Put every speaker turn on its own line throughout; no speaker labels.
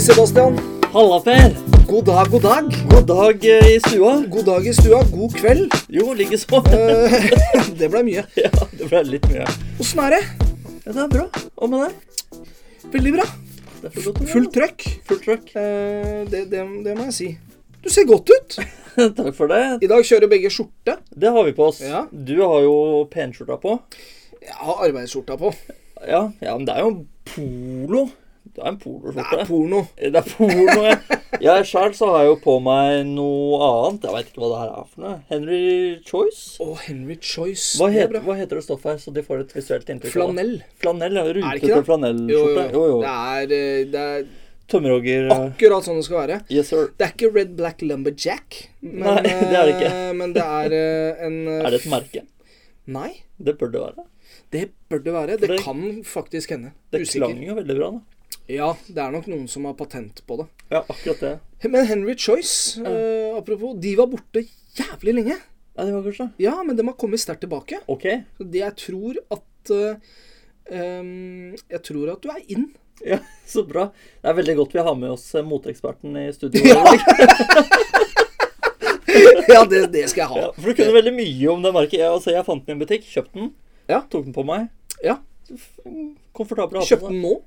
Sebastian.
Halla, Per.
God dag, god dag.
God dag eh, i stua.
God dag i stua, god kveld.
Jo, likeså.
Eh, det ble mye.
Ja, det ble litt mye.
Åssen er det?
Ja, det er bra. Hva med deg?
Veldig bra.
Det er for godt å være,
Fullt
da.
trøkk.
Fullt trøkk.
Eh, det, det, det må jeg si. Du ser godt ut.
Takk for det.
I dag kjører begge skjorte.
Det har vi på oss.
Ja.
Du har jo penskjorta på.
Jeg har arbeidsskjorta på.
Ja, ja, men det er jo en polo. Det er en
Det er
poloskjorte.
porno.
Det er polo, jeg. Jeg sjøl så har jeg jo på meg noe annet. Jeg veit ikke hva det her er for noe. Henry Choice?
Og Henry Choice. det
Hva
er
heter,
bra.
hva heter det stoffet her, så de får et visuelt inntrykk? av det?
Flanell.
Flanell, ja.
Er det ikke
Rutete
det? Jo, jo.
flanellskjorte. Jo, jo.
Det, er, eh, det er
Tømmerhogger. eh,
akkurat sånn det skal være.
Yes, sir.
Det er ikke Red Black Lumberjack. Men,
Nei, det er det ikke.
eh, Men det er eh, en
Er det et merke?
Nei,
Det bør det være.
det bør det være.
For
Det
det-
kan faktisk hende.
Det
Usikker.
klang jo veldig bra, da.
Ja, det er nok noen som har patent på det.
Ja, akkurat det.
Men Henry Choice, eh, apropos, de var borte jævlig lenge.
Ja, det var kanskje
Ja, men de har kommet sterkt tilbake.
Ok.
Så det jeg tror at eh, em, Jeg tror at du er inn.
Ja, så bra. Det er veldig godt vi har med oss eh, moteeksperten i studio.
Ja.
Erik.
ja, det, det skal jeg ha.
Ja, for du kunne veldig mye om det merket. Jeg, altså, jeg fant den i en butikk, kjøpte den,
Ja.
tok den på meg.
Ja.
Komfortabel å ha på
Kjøpte
seg.
den nå.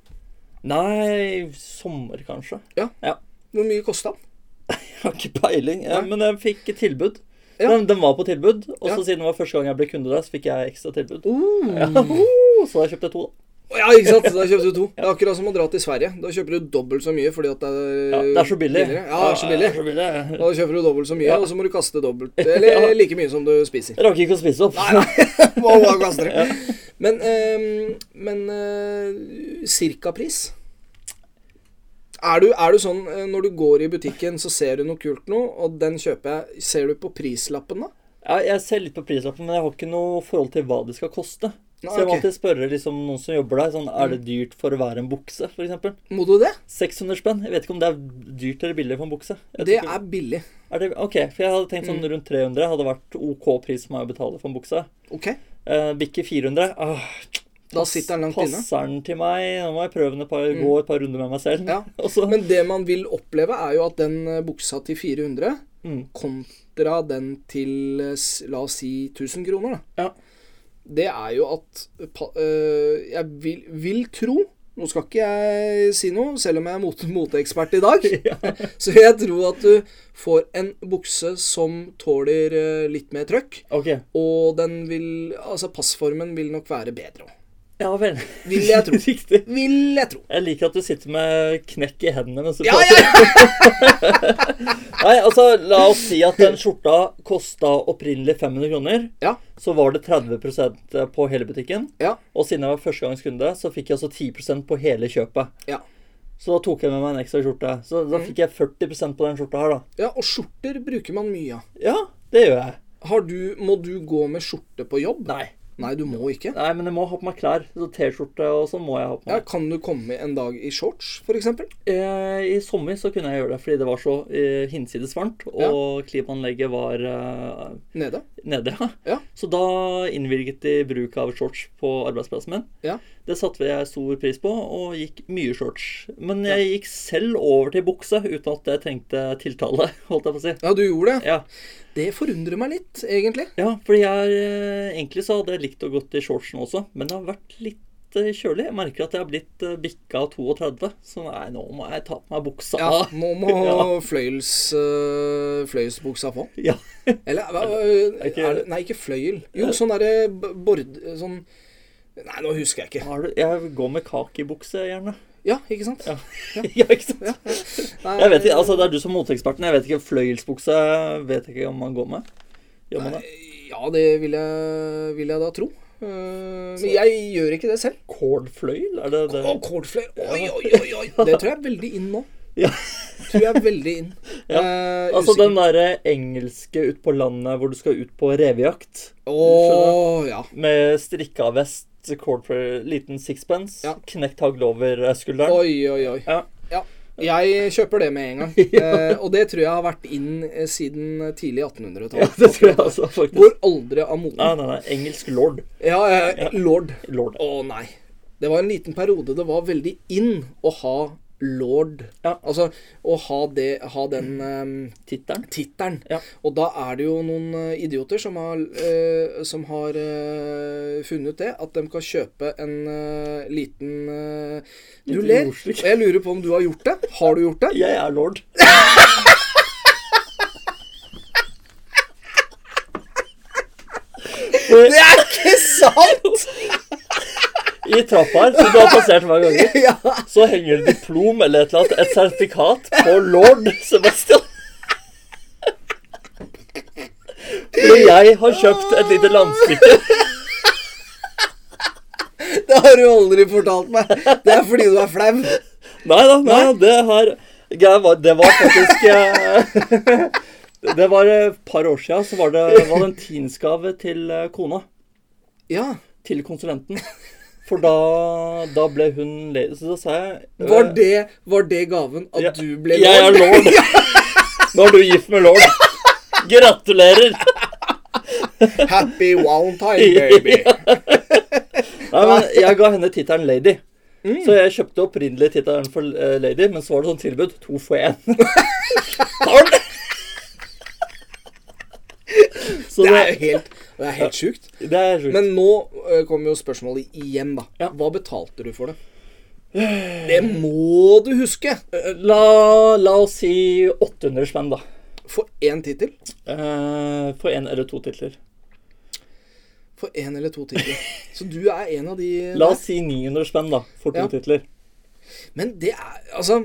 Nei, sommer kanskje.
Ja. Hvor mye kosta den?
Jeg har ikke peiling. Ja,
Nei.
men jeg fikk tilbud.
Ja.
Den, den var på tilbud, og så
Ja.
siden det var første gang jeg ble kunde der, så fikk jeg ekstra tilbud.
Oh.
Ja, oh, så da kjøpte jeg to, da.
Ja, ikke sant? Da kjøpte du to. Det er akkurat som å dra til Sverige. Da kjøper du dobbelt så mye fordi at det er,
Ja, det er så billig.
billigere. Ja, det er så billig.
så billig.
Da kjøper du dobbelt så mye,
Ja.
og så må du kaste dobbelt. Eller
Ja.
like mye som du spiser.
Jeg rakk ikke å spise opp.
Må bare kaste det. Men, eh, men eh, cirka pris? Er du, er du sånn eh, når du går i butikken, så ser du noe kult noe, og den kjøper jeg. Ser du på prislappen, da?
Ja, jeg ser litt på prislappen, men jeg har ikke noe forhold til hva det skal koste.
Nei,
så jeg
ok.
må
Mm.
alltid spørre liksom, noen som jobber der, sånn, er det dyrt for å være en bukse, for eksempel?
Må du det?
600 spenn. Jeg vet ikke om det er dyrt eller billig for en bukse. Jeg
Det
tror ikke-
er Mm. billig.
er det... Ok, for jeg hadde tenkt sånn rundt 300 hadde vært OK pris for meg å betale for en bukse.
Ok.
Eh, Bikke 400. Ah,
Da sitter den langt inne. Mm.
passer den til meg? Nå må jeg prøve den et par, gå et par runder med meg selv.
Ja.
Og så,
Men det man vil oppleve, er jo at den eh, buksa til 400
mm,
kontra den til, eh, s- la oss si, 1000 kroner, da.
ja.
det er jo at pa- øh, jeg vil, vil tro Nå skal ikke jeg si noe, selv om jeg er mote- moteekspert i dag. Så jeg tror at du får en bukse som tåler øh, litt mer trøkk.
Ok.
Og den vil Altså, passformen vil nok være bedre òg.
Ja vel.
Vil jeg tro.
Riktig.
Vil jeg tro.
Jeg liker at du sitter med knekk i hendene mens du
Ja,
prater.
ja, ja!
Nei, altså, la oss si at den skjorta kosta opprinnelig 500 kroner.
Ja.
Så var det 30 på hele butikken.
Ja.
Og siden jeg var førstegangskunde, så fikk jeg altså 10 på hele kjøpet.
Ja. Mm.
Så da tok jeg med meg en ekstra skjorte. Så da fikk jeg 40 på den skjorta her, da.
ja og skjorter bruker man mye av.
Ja, det gjør jeg.
Har du Må du gå med skjorte på jobb?
Nei.
Nei, du må ikke.
Nei, men jeg må ha på meg klær. Så T-skjorte og sånn må jeg ha på
Ja,
meg.
kan du komme en dag i shorts, for eksempel?
Eh, I sommer så kunne jeg gjøre det fordi det var så eh, hinsides varmt, og klimaanlegget var eh,
Nede.
nede. Ja.
Ja.
Så da innvilget de bruk av shorts på arbeidsplassen min.
Ja.
Det satte jeg stor pris på, og gikk mye shorts. Men jeg gikk selv over til bukse uten at jeg trengte tiltale, holdt jeg på å si.
Ja, du gjorde det.
Ja,
Det forundrer meg litt, egentlig.
ja fordi jeg eh, egentlig så hadde jeg likt å gått i shortsen også, men det har vært litt eh, kjølig. Jeg merker at jeg har blitt eh, bikka 32, så nei, nå må jeg ta på meg buksa.
Ja, nå må
Ja.
fløyels, øh, fløyelsbuksa på.
Ja.
Eller hva, øh,
Er det ikke-
er det, Nei, ikke fløyel. Jo, sånn derre b- bord... Sånn Nei, nå husker jeg ikke.
Har du, jeg går med kakibukse, gjerne.
Ja, ikke sant?
Ja. ja, ikke sant?
Nei,
Jeg vet ikke, altså Det er du som moteeksperten. Jeg vet ikke, Fløyelsbukse vet jeg ikke om man går med. Gjør man det?
Ja, det vil jeg, vil jeg da tro. Eh, Men jeg gjør ikke det selv.
Kålfløyel? Er det det?
Å, kålfløyel. Oi, oi, oi, oi. Det tror jeg er veldig inn nå.
Ja.
Tror jeg er veldig inn.
Ja.
Eh,
Altså
usikker.
den derre engelske ut på landet hvor du skal ut på revejakt
Å, ja.
med strikka vest, kålfløyel, liten sixpence,
Ja.
knekt hagl over eh, skulderen.
Oi, oi, oi.
Ja.
Ja. Jeg kjøper det med en gang. Eh, og det tror jeg har vært inn eh, siden tidlig
Ja,
1800-tall.
det tror jeg altså, faktisk.
Går aldri av
Nei,
moten.
nei, nei. Engelsk lord.
Ja, eh, lord.
Lord.
Å nei. Det var en liten periode det var veldig in å ha lord.
Ja.
Altså å ha, det, ha den eh,
Tittelen.
tittelen.
Ja.
Og da er det jo noen eh, idioter som har, eh, som har eh, funnet ut det, at de kan kjøpe en eh, liten eh, Du
Liten
ler,
jordslig.
og jeg lurer på om du har gjort det. Har du gjort det?
Jeg er lord.
Det er ikke sant!
I trappa her, som du har passert hver gang,
ja.
så henger det diplom eller et eller annet, et sertifikat på lord Sebastian. Når jeg har kjøpt et lite landstykke
Det har du aldri fortalt meg. Det er fordi du er flau.
Nei da, nei, det her det var, det var faktisk eh, Det var et par år siden, så var det valentinsgave til eh, kona.
Ja.
Til konsulenten. For da, da ble hun le... Så da sa jeg eh,
Var det, var det gaven at
Ja.
du ble
Jeg er lord. Nå er du gift med lord. Gratulerer!
Happy Valentine, baby.
Nei, men jeg ga henne tittelen lady. Så jeg kjøpte opprinnelig tittelen for eh, lady, men så var det sånn tilbud. To for én. Tar den! Så
Det
det,
er jo helt, det er helt sjukt.
det er sjukt.
Men nå eh, kommer jo spørsmålet igjen, da.
Ja.
Hva betalte du for det? Det må du huske! Eh,
eh, La, la oss si 800 spenn, da.
For én tittel?
Eh, for én eller to titler.
For én eller to titler. Så du er en av de
La oss si 900 spenn, da. For to
Ja.
titler.
Men det er Altså,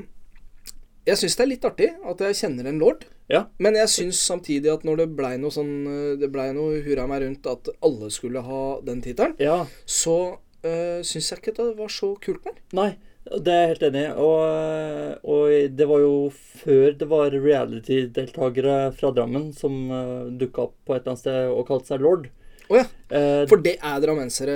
jeg syns det er litt artig at jeg kjenner en lord.
Ja.
Men jeg syns samtidig at når det blei noe sånn eh, Det blei noe hurra meg rundt at alle skulle ha den tittelen,
ja.
så uh, syns jeg ikke det var så kult mer.
Nei, det er jeg helt enig i. Og, og det var jo før det var reality-deltakere fra Drammen som uh, dukka opp på et eller annet sted og kalte seg lord.
Å ja.
Eh,
For det er drammensere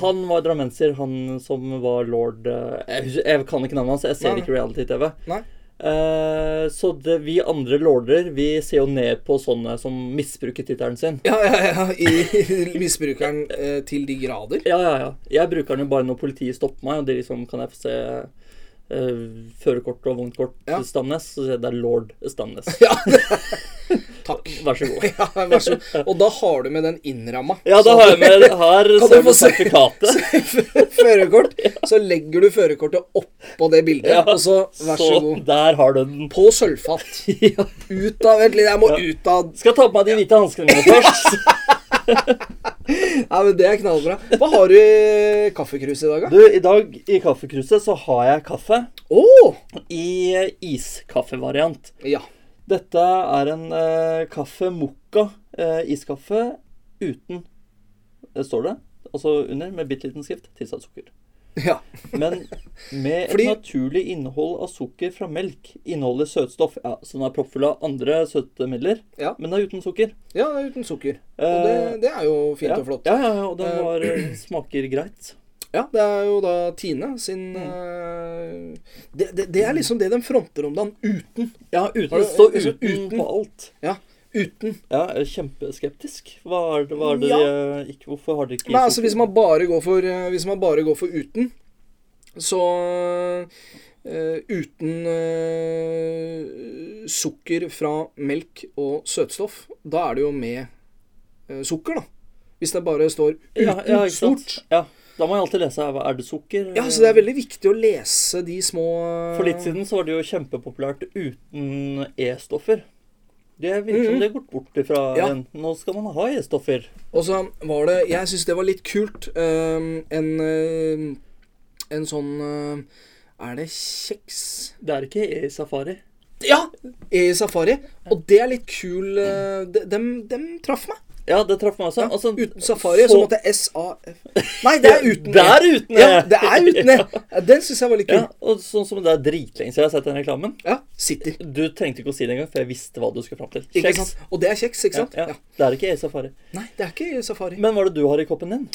han var drammenser, han som var lord eh, jeg, husker- jeg kan ikke navnet hans, jeg ser
Nei.
ikke reality-TV.
Nei.
Eh, så det, vi andre lorder, vi ser jo ned på sånne som misbruker tittelen sin.
Ja, ja, ja. I misbrukeren eh, til de grader.
Ja, ja, ja. Jeg bruker den jo bare når politiet stopper meg, og de liksom kan jeg få se eh, førerkort og vognkort
Ja.
Stamnes, så sier jeg det er lord Stamnes.
Ja. Takk.
Vær så god.
Ja, vær så god. Og da har du med den innramma.
Ja, da har jeg med her
Kan du
ser
få
du
se-
sertifikatet.
førerkort. Så legger du førerkortet oppå det bildet,
Ja,
og så vær så god.
der har du den.
På sølvfat.
Ja.
Ut av Vent litt, jeg må ut av
Skal ta på meg de hvite hanskene mine først.
Nei, men Det er knallbra. Hva har du i kaffekrus i dag, da?
Du, i dag i kaffekruset så har jeg kaffe
Å!
i eh, iskaffevariant.
ja.
Dette er en eh, kaffe mokka eh, iskaffe uten Det står det. Altså under med bitte liten skrift tilsatt sukker.
ja.
Men med et
Fordi-
naturlig innehold av sukker fra melk inneholder søtstoff. Ja, så den er proppfull av andre søtemidler,
Ja.
men den er uten sukker.
Ja, det er uten sukker. Og det,
Eh,
det er jo fint
ja.
og flott.
Ja, ja, ja, og den
Eh,
var, smaker greit.
Ja, det er jo da Tine sin
Mm.
eh, det, det, det er liksom det de fronter om dagen. Uten.
Ja, uten,
Har du-
det står
altså,
uten,
uten-
på alt.
Ja, uten.
Ja, jeg er kjempeskeptisk. Hva er det, hva er det
Ja.
de, eh, ikke, Hvorfor har de ikke
Nei, altså hvis man bare går for, eh, hvis man bare går for uten, så eh, Uten eh, sukker fra melk og søtstoff, da er det jo med eh, sukker, da. Hvis det bare står uten
ja, ja, ikke sant?
stort.
Ja, da må jeg alltid lese her. hva- Er det sukker?
Ja, så det er veldig viktig å lese de små eh,
For litt siden så var det jo kjempepopulært uten E-stoffer. Det virker som
Mhm.
det er gått bort ifra
Ja.
igjen. Nå skal man ha E-stoffer.
Og så var det Jeg syns det var litt kult. eh, en, eh, en sånn eh, Er det kjeks?
Det er ikke E-safari.
Ja! I Safari. Og det er litt kul eh, de- Dem, dem traff meg.
Ja, det traff meg også. Altså,
Uten Safari så måtte jeg SAF Nei, det er uten
Det
E.
er uten E!
Ja, det er uten E. Ja, Den syns jeg var litt
Ja,
kul.
og sånn som det er dritlenge siden jeg har sett den reklamen.
Ja, sitter.
Du trengte ikke å si det engang, for jeg visste hva du skulle fram til.
Ikke
Kjeks.
sant? Og det er kjeks, ikke sant?
Ja,
Ja.
ja. Det er ikke E-safari.
Nei, det er ikke i Safari.
Men hva er det du har i koppen din?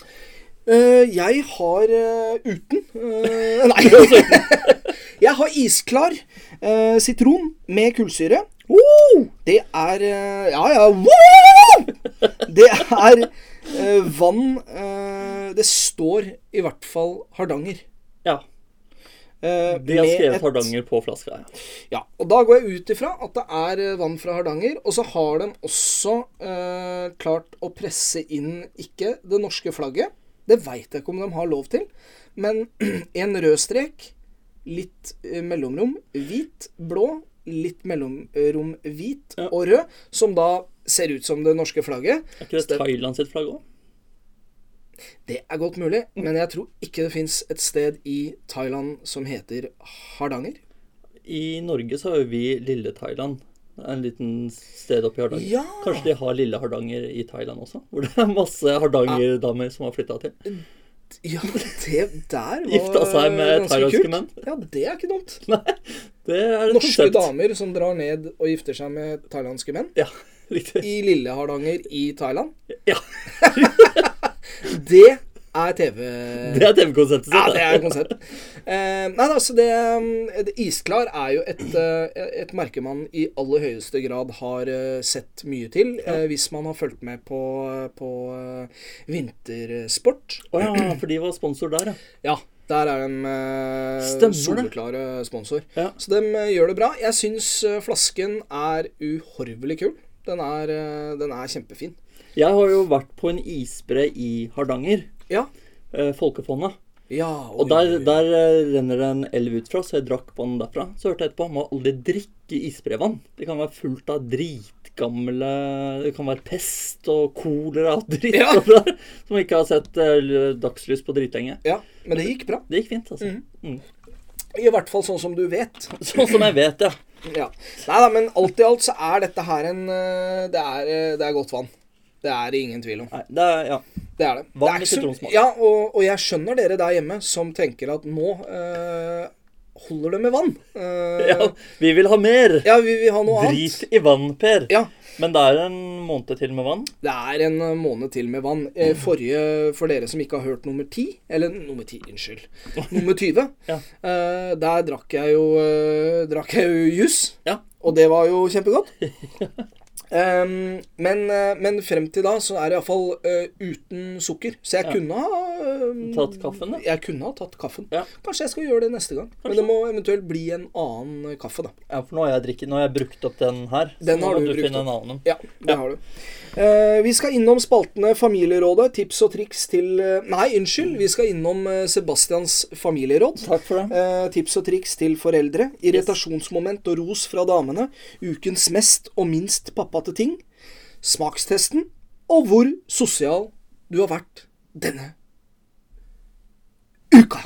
Eh, jeg har eh, uten eh, Nei. jeg har isklar eh, sitron med kullsyre. Wow! Det er eh, Ja, ja. Wow! Det er eh, vann eh, Det står i hvert fall Hardanger.
Ja.
Eh, eh,
De har
med
skrevet
et-
Hardanger på flaska. Ja.
Ja, og da går jeg ut ifra at det er eh, vann fra Hardanger. Og så har de også eh, klart å presse inn ikke det norske flagget. Det veit jeg ikke om de har lov til. Men en rød strek, litt eh, mellomrom, hvit, blå, litt mellomrom, hvit
Ja.
og rød, som da ser ut som det norske flagget.
Er ikke det
Stem-
Thailand sitt flagg òg?
Det er godt mulig, men jeg tror ikke det fins et sted i Thailand som heter Hardanger.
I Norge så har jo vi Lille Thailand. En liten sted oppe i Hardanger.
Ja.
Kanskje de har Lille Hardanger i Thailand også? Hvor det er masse Hardanger-damer som har flytta til.
Ja, det der var
Gifta seg med
ganske
thailandske
kult.
menn.
Ja, det er ikke dumt.
Det er et
Norske
konsept.
damer som drar ned og gifter seg med thailandske menn.
Ja, riktig.
I Lille Hardanger i Thailand.
Ja,
Det er TV.
Det er TV-konseptet sitt.
Ja, det
da.
er konsept. Eh, nei, altså det, eh, det Isklar er jo et, eh, et merke man i aller høyeste grad har eh, sett mye til. eh, hvis man har fulgt med på, på eh, vintersport.
Å ja, for de var sponsor der, ja.
Ja, der er de eh,
Stemmer det.
soleklare sponsor.
Ja.
Så de eh, gjør det bra. Jeg syns eh, flasken er uhorvelig kul. Den er, eh, den er kjempefin.
Jeg har jo vært på en isbre i Hardanger.
Ja.
eh, Folkefonda.
ja
Og der, der eh, renner det en elv ut fra, så jeg drakk vann derfra. Så hørte jeg etterpå man må aldri drikke isbrevann. Det kan være fullt av dritgamle Det kan være pest og kolera og dritt
Ja.
oppi der, som ikke har sett eh, dagslys på dritlenge.
Ja, men det gikk bra.
Det gikk fint, altså. Mm.
I hvert fall sånn som du vet.
Sånn som jeg vet, ja.
Ja. Nei da, men alt i alt så er dette her en eh, Det er, eh, det er godt vann. Det er det ingen tvil om.
Nei, det er, ja.
Det er det.
Vann
det er
med
ikke så-
sitronsmak.
Ja, og, og jeg skjønner dere der hjemme som tenker at nå eh, holder det med vann. Eh,
ja. Vi vil ha mer!
ja, vi vil ha noe annet.
Drit i vann, Per.
Ja,
Men det er en måned til med vann.
Det er en eh, måned til med vann. Eh,
Mhm.
Forrige, for dere som ikke har hørt nummer 10, eller nummer 10, unnskyld, nummer 20,
Ja.
eh, der drakk jeg jo, eh, drakk jeg jo jus,
Ja.
og det var jo kjempegodt. Em, men, eh, men frem til da så er det iallfall uh, uten sukker. Så jeg
Ja.
kunne ha eh,
Tatt kaffen, da?
Jeg kunne ha tatt kaffen.
Ja.
Kanskje jeg skal gjøre det neste gang. Men det må eventuelt bli en annen eh, kaffe, da.
Ja, for nå har jeg drikket, nå har jeg brukt opp den her. så
Den
nå
har
må
du brukt
finne en annen.
Ja, det har du. Eh, vi skal innom spaltene Familierådet, tips og triks til eh, Nei, unnskyld. Vi skal innom eh, Sebastians familieråd.
Takk for det.
Eh, tips og triks til foreldre. Irritasjonsmoment og ros fra damene. Ukens mest og minst pappate ting. Smakstesten. Og hvor sosial du har vært denne uka.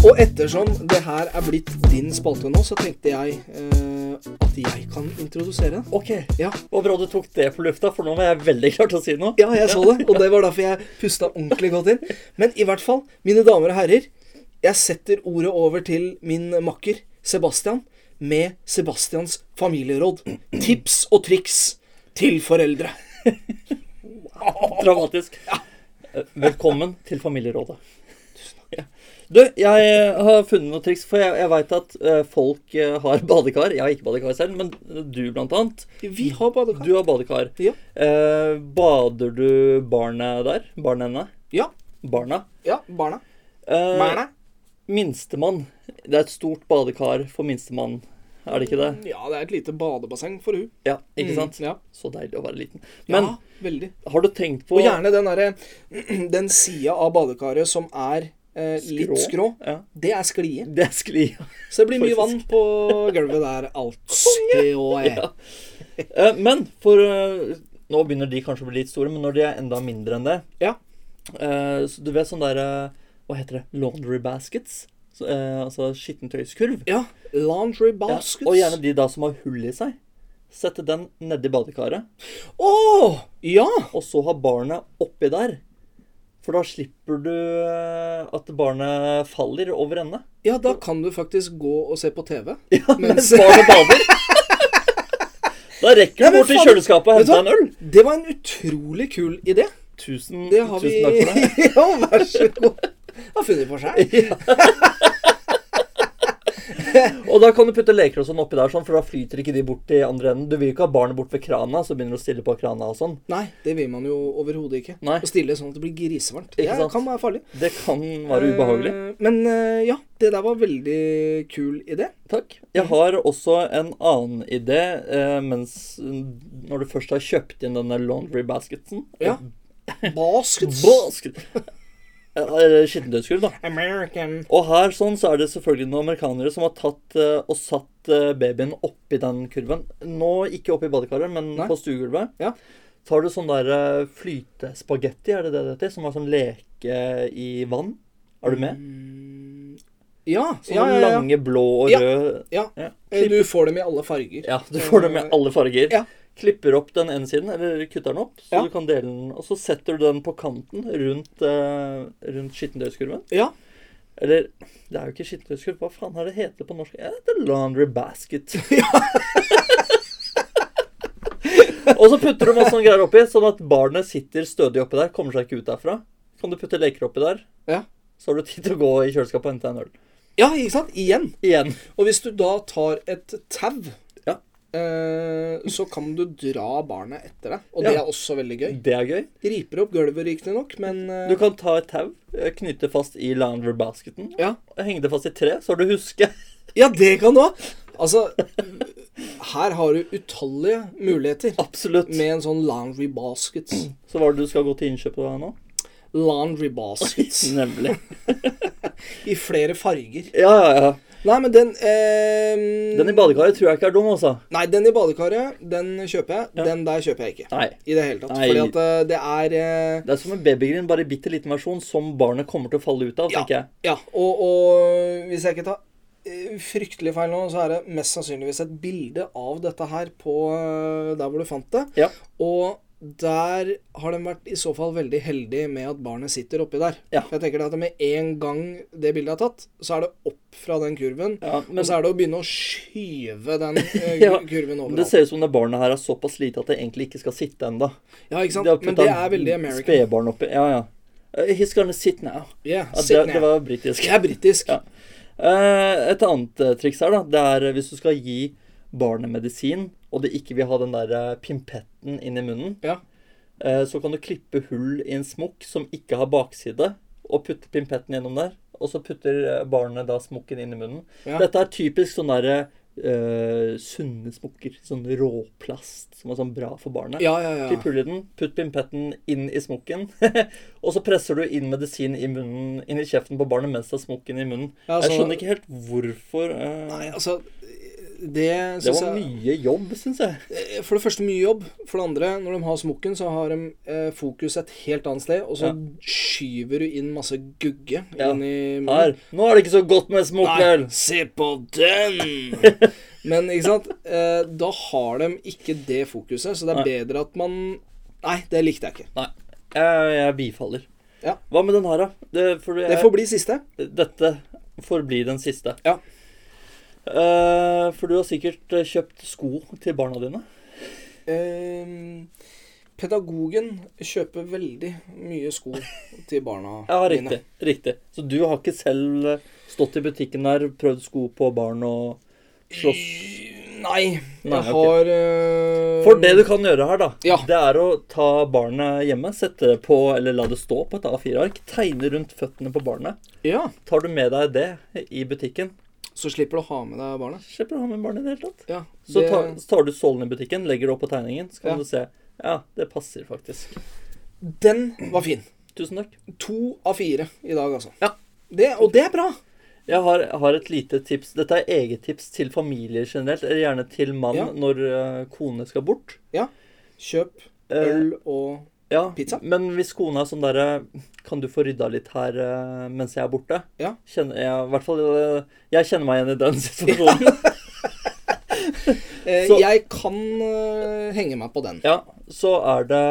Og ettersom det her er blitt din spalte nå, så tenkte jeg eh, at jeg kan introdusere den.
Ok,
Ja.
Og bra du tok det på lufta, for nå var jeg veldig klar til å si noe.
Ja, jeg så det, og det var derfor jeg pusta ordentlig godt inn. Men i hvert fall, mine damer og herrer, jeg setter ordet over til min makker Sebastian med Sebastians familieråd. Tips og triks til foreldre.
Dramatisk. Eh, Velkommen til familierådet. Ja. Du, jeg har funnet noen triks, for jeg, jeg veit at eh, folk eh, har badekar. Jeg har ikke badekar selv, men du blant annet.
Vi har badekar.
Du har badekar.
Ja.
Eh, bader du barnet der? Barnene?
Ja,
Barna?
ja, barna.
Eh,
Barna.
Minstemann. Det er et stort badekar for minstemann, er det ikke det?
Ja, det er et lite badebasseng for hun.
Ja, ikke sant?
Mm. Ja.
Så deilig å være liten.
ja,
Men
veldig.
har du tenkt på
Og gjerne den, derre- den sida av badekaret som er eh, litt skrå.
Ja,
Det er sklie.
det er skli.
Så det blir mye vann
Faktisk.
på gulvet der. Alt.
Ja. Eh, Men for eh, Nå begynner de kanskje å bli litt store, men når de er enda mindre enn det
Ja.
eh, så Du vet sånn der eh, Hva heter det? Laundry baskets? Så, eh, altså skittentøyskurv.
Ja. Laundry
Ja,
baskets.
Og gjerne de da som har hull i seg. Sette den nedi badekaret,
Åh, ja!
og så ha barnet oppi der. For da slipper du eh, at barnet faller over ende.
Ja, da kan du faktisk gå og se på TV.
Ja,
Mens-
mens barnet bader. Da rekker
Nei,
du
men
bort til
faen,
kjøleskapet og
vet du
henter en øl.
Det var en utrolig kul idé.
Tusen,
Det har
tusen
vi
takk for det.
Ja, vær så god. Har funnet på seg.
Og da kan du putte leker og sånn oppi der, sånn, for da flyter ikke de bort i andre enden. Du vil ikke ha barnet bort ved krana, så begynner du å stille på krana og sånn.
Nei, det vil man jo overhodet ikke.
Nei.
Å stille sånn at det blir grisevarmt. Det
Ikke sant?
kan være farlig.
Det kan være ubehagelig.
Eh, Men eh, ja, det der var veldig kul idé.
Takk. Jeg
mm.
har også en annen idé, eh, mens når du først har kjøpt inn denne laundry basketen
Ja. Baskets.
Basket! Eh, Skittentøyskur, da.
American.
Og her sånn så er det selvfølgelig noen amerikanere som har tatt eh, og satt eh, babyen oppi den kurven. Nå ikke oppi badekaret, men
Nei.
på stuegulvet.
Ja.
Tar du sånn der eh, flytespagetti, er det det det heter? Som er sånn leke i vann. Er du med? Sånn
Mm, Ja, ja,
Sånne
ja, ja.
lange blå og
Ja.
røde
ja.
ja.
Eh, Du får dem i alle farger.
Ja, du får dem i alle farger.
Ja.
Klipper opp den ene siden, eller kutter den opp, så
Ja.
du kan dele den. Og så setter du den på kanten rundt, eh, rundt skittentøyskurven.
Ja.
Eller det er jo ikke skittentøyskurv, hva faen er det heter på norsk? Ja, det heter laundry basket. og så putter du masse sånne greier oppi, sånn at barnet sitter stødig oppi der, kommer seg ikke ut derfra. Kan du putte leker oppi der,
Ja.
så har du tid til å gå i kjøleskapet og hente en øl.
ja, ikke sant? Igjen.
Igjen.
Og hvis du da tar et tau,
Ja.
eh, så kan du dra barnet etter deg. Og
Ja.
det er også veldig gøy.
Det er gøy.
Riper opp gulvet riktignok, men eh,
Du kan ta et tau, eh, knytte fast i laundry basketen,
ja.
og henge det fast i tre, så har du husket.
ja, det kan du ha. Altså, her har du utallige muligheter
Absolutt.
med en sånn laundry basket.
Så hva er det du skal gå til innkjøp av nå?
Laundry basket
Nemlig.
i flere farger.
Ja, ja, ja.
Nei, men den eh,
Den i badekaret tror jeg ikke er dum, altså.
Nei, den i badekaret, den kjøper jeg.
Ja.
Den der kjøper jeg ikke.
Nei.
I det hele tatt.
Nei.
Fordi at eh, det er eh,
Det er som en babygrin, bare i bitte liten versjon, som barnet kommer til å falle ut av,
Ja.
tenker jeg.
Ja, og, og hvis jeg ikke tar eh, fryktelig feil nå, så er det mest sannsynligvis et bilde av dette her på eh, der hvor du fant det.
Ja.
Og der har de vært i så fall veldig heldig med at barnet sitter oppi der.
Ja.
Jeg tenker det at med en gang det bildet er tatt, så er det opp fra den kurven.
Ja, men
Og så er det å begynne å skyve den eh,
Ja,
kurven
men
overalt.
det ser ut som det barnet her er såpass lite at det egentlig ikke skal sitte ennå.
Ja, ikke sant? Men det er veldig American.
Spedbarn oppi Ja, ja. Eh, He's gonna sit now.
Yeah,
Ja,
sit
det, det
ned.
var britisk.
Jeg er britisk.
Ja. Eh, Et annet eh, triks her, da, det er eh, hvis du skal gi barnet medisin, og det ikke vil ha den der eh, pimpetten inn i munnen,
Ja.
eh, så kan du klippe hull i en smokk som ikke har bakside, og putte pimpetten gjennom der. Og så putter eh, barnet da smokken inn i munnen.
Ja.
Dette er typisk sånn derre eh, sunne smokker. Sånn råplast som er sånn bra for barnet.
Ja, ja, ja.
Klipp hull i den, putt pimpetten inn i smokken, og så presser du inn medisin i munnen, inn i kjeften på barnet mens det er smokken i munnen.
Ja,
Jeg
så-
skjønner ikke helt hvorfor eh,
Altså, Nei, altså Det
Det
syns
var
jeg
mye jobb, syns jeg.
Eh, For det første mye jobb. For det andre, når de har smokken, så har de eh, fokus et helt annet sted, og så
Ja.
skyver du inn masse gugge
Ja.
inn i
Her. Nå er det ikke så godt med smokk, vel.
Mm. Nei, se på den! Men ikke sant, eh, da har de ikke det fokuset, så det er bedre at man Nei, det likte jeg ikke.
Nei. Jeg, jeg bifaller.
Ja.
Hva med den her, da? Det, for jeg,
Det får bli siste.
Dette får bli den siste.
Ja.
Eh, for du har sikkert eh, kjøpt sko til barna dine.
Eh, pedagogen kjøper veldig mye sko til barna
Ja,
mine.
riktig. riktig. Så du har ikke selv eh, stått i butikken der, prøvd sko på barn og slåss
Nei,
Nei, ok.
jeg har eh,
For det du kan gjøre her, da,
Ja.
det er å ta barnet hjemme, sette det på, eller la det stå på et A4-ark, tegne rundt føttene på barnet.
Ja,
Tar du med deg det i butikken,
så slipper du å ha med deg barnet.
slipper du å ha med barnet i det hele tatt.
Ja,
Så
det,
tar, så tar du sålen i butikken, legger det opp på tegningen, så kan
Ja.
du se. Ja, det passer faktisk.
Den var fin.
Tusen takk.
To av fire i dag, altså.
Ja.
Det, og det er bra.
Jeg har, har et lite tips. Dette er eget tips til familier generelt, eller gjerne til mann
Ja.
når eh, kone skal bort.
Kjøp
Eh,
øl og
ja,
pizza.
Men hvis kona er sånn derre Kan du få rydda litt her eh, mens jeg er borte?
Ja.
Kjenner jeg, i hvert fall, eh, jeg kjenner meg igjen i den situasjonen.
eh,
så-
Jeg kan eh, henge meg på den.
ja, så er det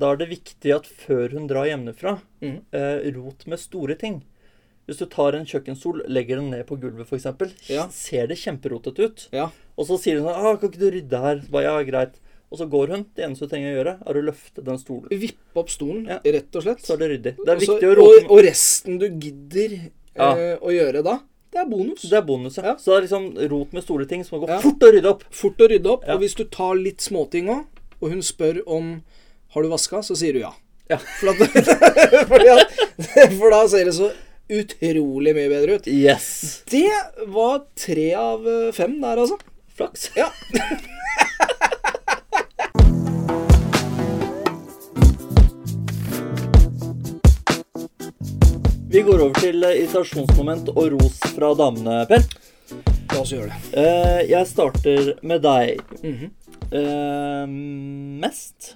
Da er det viktig at før hun drar hjemmefra,
Mhm.
eh, rot med store ting. Hvis du tar en kjøkkenstol, legger den ned på gulvet f.eks.,
Ja.
ser det kjemperotete ut.
Ja.
Og så sier hun sånn ah, 'Kan ikke du rydde her?' Så bare, ja, greit. Og så går hun. Det eneste hun trenger å gjøre, er å løfte den stolen.
Vippe opp stolen,
Ja.
rett og slett.
Så er det ryddig. Det er
Og så-
viktig å rote
og, og resten du gidder
Ja.
eh, å gjøre da, Det er bonus.
Det er bonus, ja.
Ja.
Så det er liksom rot med store ting som må gå
Ja.
fort å rydde opp.
Fort å rydde opp.
Ja.
Og hvis du tar litt småting òg, og hun spør om har du vaska, så sier du ja.
Ja.
For, at, fordi at, for da ser det så utrolig mye bedre ut.
Yes.
Det var tre av eh, fem der, altså.
Flaks.
Ja.
Vi går over til eh, irritasjonsmoment og ros fra damene, Per.
La oss gjøre det.
Eh, jeg starter med deg.
Mhm.
Eh, mest,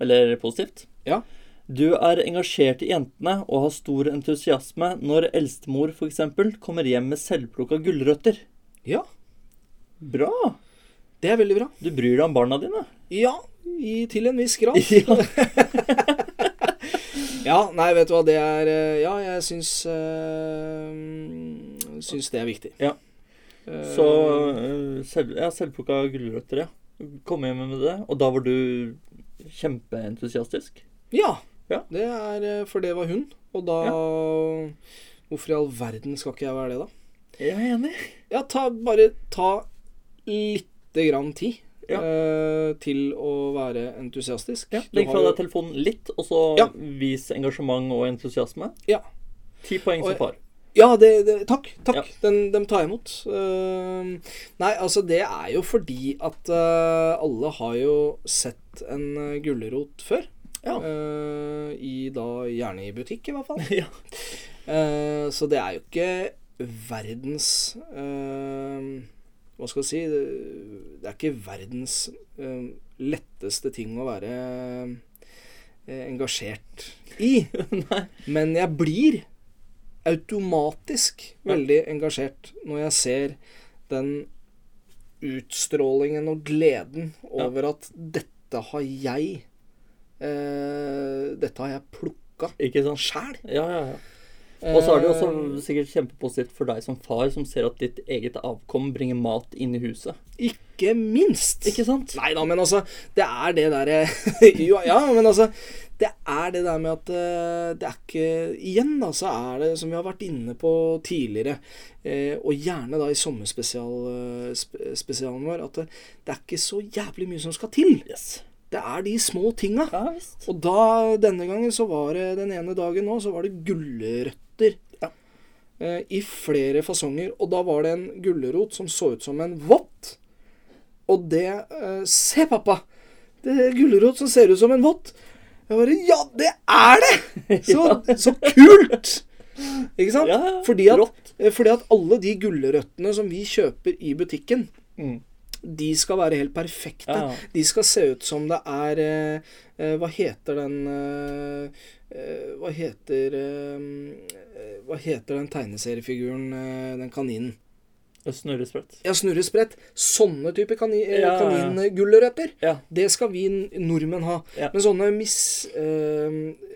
eller positivt.
Ja.
Du er engasjert i jentene og har stor entusiasme når eldstemor f.eks. kommer hjem med selvplukka gulrøtter.
Ja,
Bra!
det er veldig bra.
Du bryr deg om barna dine.
Ja, i, til en viss grad.
Ja.
Ja, nei, vet du hva, det er eh, Ja, jeg syns eh, Syns det er viktig.
Ja.
Eh,
Så eh, selv, ja, selvplukka gulrøtter, ja. Kom hjem med det, og da var du kjempeentusiastisk.
Ja.
Ja.
Det er eh, For det var hun. Og da Hvorfor i all verden skal ikke jeg være det, da?
Jeg er enig.
Ja, ta, bare ta lite grann tid
Ja.
eh, til å være entusiastisk.
Ja,
Du
Legg
har
fra
jo-
deg telefonen litt, og så
Ja.
vis engasjement og entusiasme.
Ja.
Ti poeng
Og
som
jeg-
far.
Ja, det, det, takk. takk.
Ja.
Den, dem tar jeg imot. Ehm, nei, altså, det er jo fordi at eh, alle har jo sett en eh, gulrot før.
Ja.
Eh, I da gjerne i butikk, i hvert fall.
ja.
Eh, så det er jo ikke verdens eh, Hva skal jeg si Det det er ikke verdens eh, letteste ting å være eh, engasjert i.
Nei.
Men jeg blir automatisk veldig engasjert når jeg ser den utstrålingen og gleden over at dette har jeg eh, Dette har jeg plukka
Ikke sant?
sjæl.
Ja, ja, ja. Og så er det jo
Eh.
også sikkert kjempepositivt for deg som far, som ser at ditt eget avkom bringer mat inn i huset.
Eh, Ikke minst.
Ikke sant?
Nei da, men altså Det er det derre Jo, ja, men altså Det er det der med at eh, det er ikke Igjen, da, så er det, som vi har vært inne på tidligere, eh, og gjerne da i sommerspesialen spe, spesialen vår, at det, det er ikke så jævlig mye som skal til.
Yes.
Det er de små tinga.
Ja visst.
Og da, denne gangen, så var det den ene dagen nå, så var det gulrøtter.
Ja.
Eh, I flere fasonger. Og da var det en gulrot som så ut som en vott. Og det eh, Se, pappa! Det er en gulrot som ser ut som en vott. Jeg bare Ja, det er det! Så, så kult! Ikke sant?
Ja, ja,
fordi, at,
rått.
eh, fordi at alle de gulrøttene som vi kjøper i butikken,
Mm.
de skal være helt perfekte.
Ja, ja.
De skal se ut som det er eh, eh, Hva heter den eh, eh, Hva heter eh, Hva heter den tegneseriefiguren, eh, den kaninen?
Snørresprett.
Ja, Snurresprett. Sånne type kani eh,
Ja, ja, ja.
kaningulrøtter.
Ja.
Det skal vi n- nordmenn ha.
Ja.
Men sånne mis... Eh,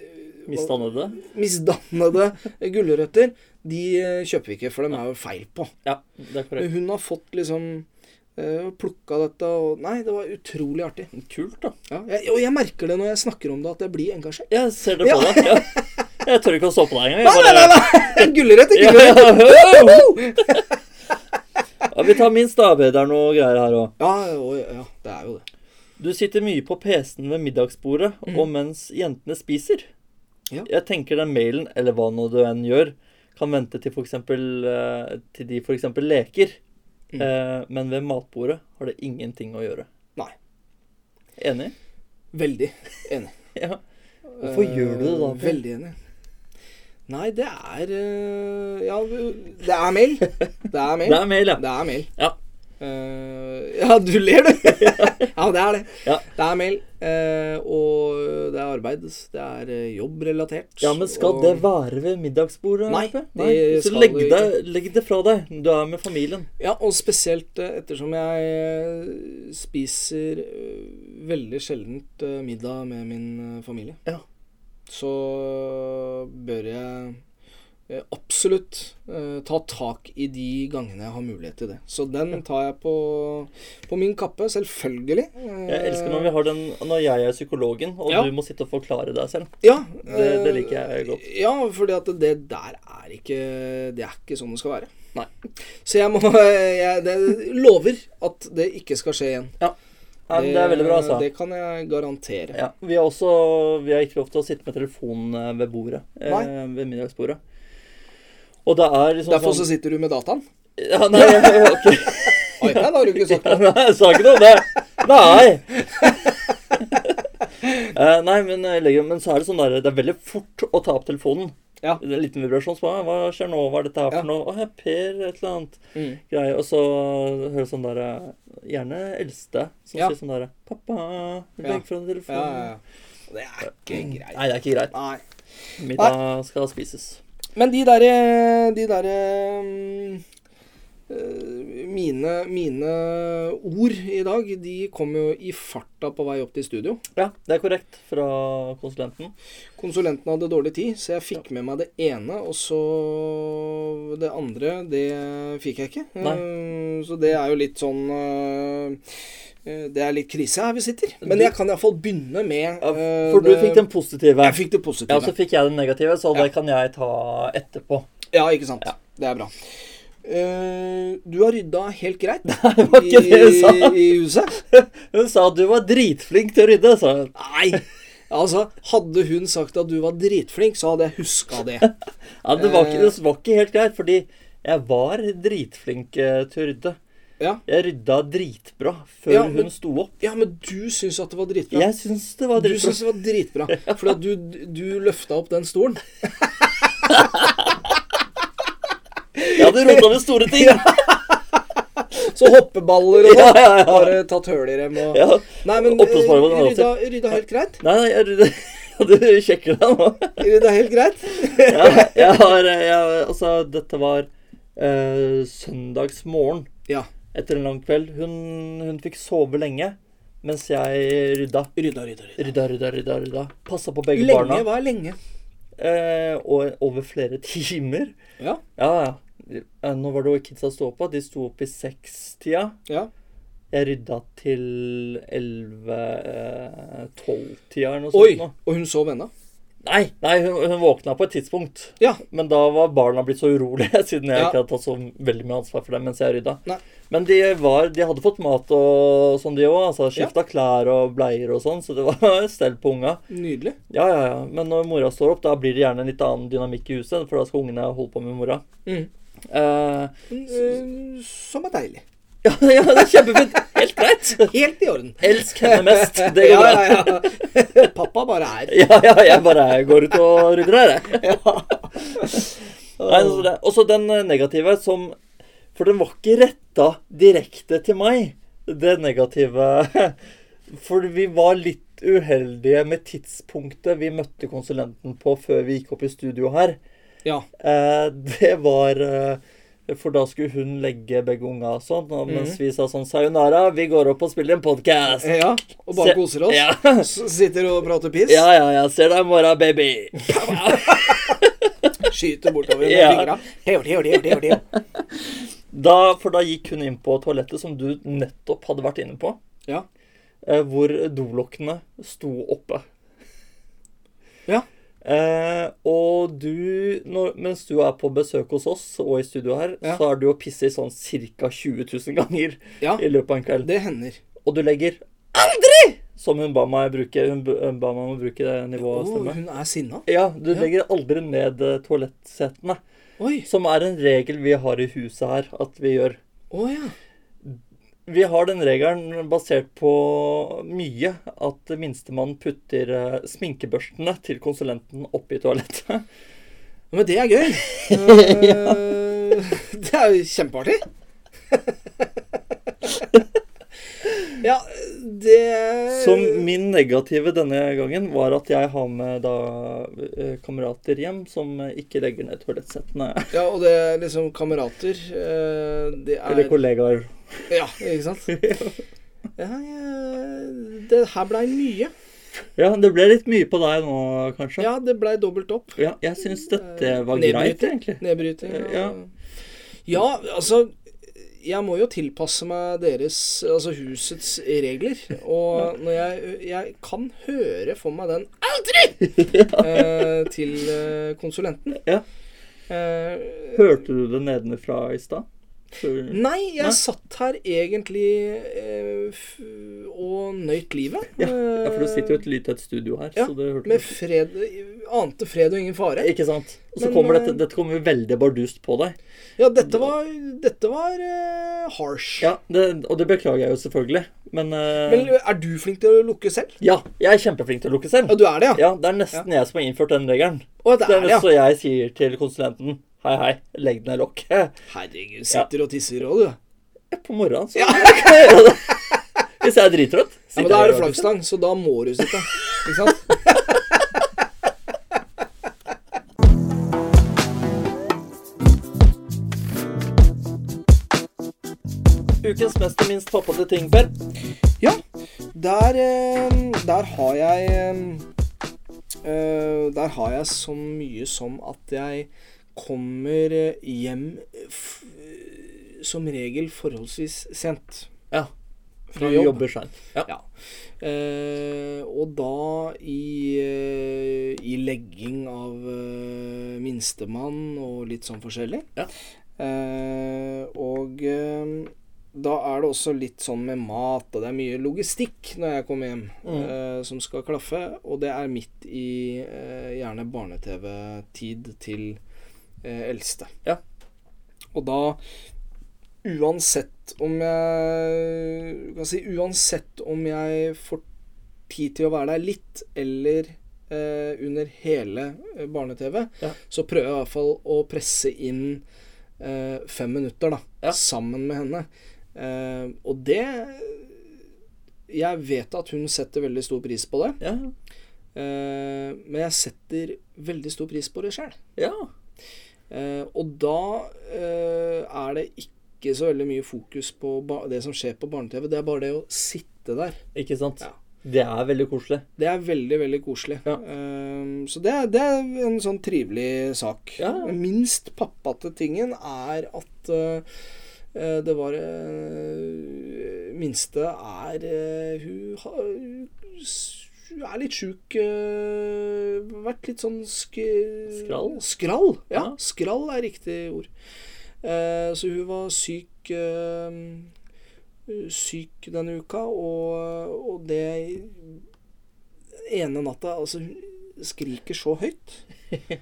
Misdannede.
misdannede gulrøtter, de eh, kjøper vi ikke, for de er jo feil på.
Ja, det er
Men
korrekt.
hun har fått liksom uh, Plukka dette og Nei, det var utrolig artig.
Kult, da.
Ja, jeg, og jeg merker det når jeg snakker om det, at jeg blir engasjert.
Jeg ser det på
Ja.
deg. Ja. Jeg tør ikke å stå på deg engang.
Nei,
Jeg
nei, nei, nei. Gulrøtter,
Ja,
gulrøtter.
ja, ja. Ja, vi tar minst, da. Det er noe greier her òg.
Ja, og, ja, det er jo det.
Du sitter mye på PC-en ved middagsbordet og mens jentene spiser.
Mm. Ja.
Jeg tenker den mailen, eller hva nå du enn gjør, kan vente til, for eksempel, eh, til de f.eks. leker.
Mm.
Eh, Men ved matbordet har det ingenting å gjøre.
Nei.
Enig?
Veldig enig.
Ja. Hvorfor gjør du det da?
Eh,
Per?
Veldig enig. Nei, det er eh, Ja, det er mail. Det er mail.
Det er mail, ja.
Det er mail.
Ja.
Eh, ja, du ler, du. ja, det er det.
Ja.
Det er mail. eh, og det er arbeid. Det er eh, jobbrelatert.
Ja, men skal
og-
det være ved middagsbordet?
Nei,
Per?
det
Nei. Så
skal
legg
det
det, legg det fra deg. Du er med familien.
Ja, og spesielt eh, ettersom jeg eh, spiser eh, veldig sjeldent eh, middag med min eh, familie.
Ja.
Så bør jeg eh, absolutt eh, ta tak i de gangene jeg har mulighet til det. Så den tar jeg på, på min kappe, selvfølgelig. Eh,
Jeg elsker når vi har den når jeg er psykologen, og
Ja.
du må sitte og forklare deg selv.
ja,
Det- det
eh,
liker jeg godt.
Ja, fordi at det der er ikke Det er ikke sånn det skal være.
Nei.
Så jeg må jeg det, lover at det ikke skal skje igjen.
Nei, men det er veldig bra, altså.
Eh, Det kan jeg garantere.
Ja, vi har også Vi har ikke lov til å sitte med telefonen eh, ved bordet.
Nei.
Eh, ved middagsbordet. Og det er liksom
Derfor så sitter du med dataen.
ja, Nei, jeg, jeg, har ikke-
iPad har du ikke sagt.
nei, jeg sa ikke noe om det. Nei! Eh, nei, men, jeg legger, men så er det sånn der Det er veldig fort å ta opp telefonen.
Ja.
Det er en liten vibrasjon. Så, bare, hva skjer nå? Hva er dette her
Ja.
for noe? Å, jeg Per et eller annet.
Mm.
greie. Og så hører du sånn der eh, Gjerne eldste som
Ja.
sier sånn der 'Pappa,
Ja.
legg fra deg telefonen.'
Ja, ja, ja. Det er ikke greit.
Mm. Nei, det er ikke greit.
Nei.
Middag skal spises.
Men de derre De derre mm, eh, mine, mine ord i dag, de kom jo i farta på vei opp til studio.
Ja, det er korrekt fra konsulenten.
Konsulenten hadde dårlig tid, så jeg fikk med meg det ene, og så det andre, det fikk jeg ikke.
Nei.
Eh, Så det er jo litt sånn eh, eh, Det er litt krise her vi sitter. Men
Du-
jeg kan iallfall begynne med
Ja,
eh,
For du
det-
fikk den positive.
Jeg fikk det
Ja, så
positive.
fikk jeg den negative, så
Ja.
det kan jeg ta etterpå.
Ja, ikke sant.
Ja.
Det er bra. Eh, du har rydda helt greit
Det var ikke det hun sa.
i, i huset.
Hun sa at du var dritflink til å rydde, sa hun.
Nei! Altså, hadde hun sagt at du var dritflink, så hadde jeg huska det.
Ja, det var,
Eh.
ikke, det var ikke helt greit, fordi jeg var dritflink eh, til å rydde.
Ja.
Jeg rydda dritbra før
Ja, men-
hun sto opp.
Ja, men du syns at det var dritbra.
Jeg syns det var
Du
dritbra.
syntes det var dritbra, fordi at du, du løfta opp den stolen.
Ja, du rota med store ting.
Så hoppeballer og
Ja,
sånn.
ja, ja.
Bare tatt høl i dem og
ja.
Nei, men eh,
Oppblåsbare var det
rydda, rydda helt greit.
Nei, nei, jeg, du sjekker deg nå.
Rydda helt greit.
Ja, jeg har eh, jeg, Altså, dette var eh, søndagsmorgen
Ja.
etter en lang kveld. Hun, hun fikk sove lenge mens jeg rydda.
Rydda, rydda, rydda.
Rydda, rydda, rydda. rydda. Passa på begge
Lenge
barna.
var lenge.
Eh, og over flere timer.
Ja.
Ja, ja. Eh, Nå var det jo kidsa sto opp, da. De sto opp i sekstida.
Ja.
Jeg rydda til 11-12-tida eller noe
Oi.
sånt. nå.
Og hun sov ennå.
Nei, nei hun, hun våkna på et tidspunkt.
Ja.
Men da var barna blitt så urolige, siden jeg
Ja.
ikke hadde tatt så veldig mye ansvar for dem mens jeg rydda.
Nei.
Men de, var, de hadde fått mat og sånn, de òg. Altså, Skifta klær og bleier og sånn, så det var stell på unga.
Nydelig.
Ja, ja, ja. Men når mora står opp, da blir det gjerne en litt annen dynamikk i huset, for da skal ungene holde på med mora.
Mm.
Eh,
Men, eh, Som er deilig.
ja, ja, det er kjempefint. Helt greit.
Helt i orden.
Elsk henne mest. Det går
Ja,
bra.
ja, ja. Pappa bare er.
Ja, ja, jeg bare går ut og rydder her, jeg. Nei, altså det- Også den eh, negative som For den var ikke retta direkte til meg, det negative. For vi var litt uheldige med tidspunktet vi møtte konsulenten på før vi gikk opp i studio her.
Ja.
Eh, det var eh, For da skulle hun legge begge unga og sånn, og mens vi sa sånn Sayonara, vi går opp og spiller en podkast.
Eh, ja. Og bare
Se-
koser oss.
Ja.
S- Sitter og prater piss.
Ja, ja, ja. Ser deg i morgen, baby.
Skyter bortover med
Ja.
fingra. Teo, teo, teo, teo, teo.
Da, for da gikk hun inn på toalettet som du nettopp hadde vært inne på.
Ja.
Eh, hvor dolokkene sto oppe.
Ja.
Eh, og du, når, mens du er på besøk hos oss og i studio her,
Ja.
så er du og pisser sånn ca. 20 000 ganger
Ja,
i løpet av en kveld.
det hender.
Og du legger aldri! Som hun ba meg bruke. Hun b- hun ba meg om å bruke det
Å,
nivået av stemme.
hun er sinna?
Ja, du
Oh. Ja.
legger aldri ned eh, toalettsetene.
Oi.
Som er en regel vi har i huset her at vi gjør.
Å ja.
Vi har den regelen basert på mye at minstemann putter eh, sminkebørstene til konsulenten oppi toalettet.
Ja, Men det er gøy. Eh, det er jo kjempeartig. ja, det
Så min negative denne gangen var at jeg har med da eh, kamerater hjem som eh, ikke legger ned toalettsettene.
Ja, og det er liksom kamerater. eh, Det er
Eller kollegaer.
Ja, ikke sant? Ja, ja, det her blei mye.
Ja, det ble litt mye på deg nå, kanskje.
Ja, det blei dobbelt opp.
Ja, jeg syns dette
Eh,
var
nedbryting.
greit, egentlig.
Nedbryting.
Eh,
Ja.
ja.
ja, altså Jeg må jo tilpasse meg deres, altså husets regler. Og når jeg, jeg kan høre for meg den aldri! Eh, til eh, konsulenten.
Ja.
Eh,
Hørte du det nedenfra i stad? For-
Nei, jeg
Nei?
satt her egentlig eh, f og nøyt livet.
Ja, for det sitter jo et lydtett studio her,
Ja,
så det hørte
Med
du.
fred Ante fred og ingen fare.
Ikke sant? Og så
Men,
kommer
eh,
dette, dette kommer veldig bardust på deg.
Ja, dette var Dette var eh, harsh.
Ja, det, Og det beklager jeg jo selvfølgelig, men eh,
Men er du flink til å lukke selv?
Ja, jeg er kjempeflink til å lukke selv.
Ja, du er det, ja?
Ja, det er nesten jeg som har innført den regelen.
Å, det er
Det er
det, ja.
Så jeg sier til konsulenten Hei, hei, legg ned lokket.
Herregud, sitter og tisser òg, du.
På morgenen, så kan jeg gjøre det. Hvis jeg er drittrøtt.
Ja, men da er det flaggstang, så da må du sitte. Ikke sant?
Ukens mest og minst pappate ting, Per.
Ja. Der, eh, der har jeg eh, eh, Der har jeg så mye som at jeg kommer eh, hjem f eh, som regel forholdsvis sent
Ja, du
fra jobb.
jobber seint. Ja.
Ja. Eh, og da i, eh, i legging av eh, minstemann og litt sånn forskjellig.
Ja.
Eh, og eh, da er det også litt sånn med mat, og det er mye logistikk når jeg kommer hjem
Mm.
eh, som skal klaffe. Og det er midt i eh, gjerne barne-TV-tid til eh, eldste.
Ja.
Og da Uansett om jeg du kan si, Uansett om jeg får tid til å være der litt, eller eh, under hele eh, barne-TV,
Ja.
så prøver jeg i hvert fall å presse inn eh, fem minutter da,
Ja.
sammen med henne. Eh, og det Jeg vet at hun setter veldig stor pris på det,
Ja.
eh, men jeg setter veldig stor pris på det sjøl.
ja.
Eh, og da eh, er det ikke så veldig mye fokus på ba det som skjer på barne-TV. Det er bare det å sitte der.
Ikke sant?
Ja.
Det er veldig koselig.
Det er veldig, veldig koselig.
Ja.
Eh, så det er, det er en sånn trivelig sak.
Ja.
Den Minst pappate tingen er at eh, eh, det var eh, Minste er eh, hun, har, hun er litt sjuk. eh, vært litt sånn sk
Skrall?
Skrall, ja.
Ja.
Skrall er riktig ord. Eh, så hun var syk eh, Syk denne uka, og, og det ene natta altså, hun skriker så høyt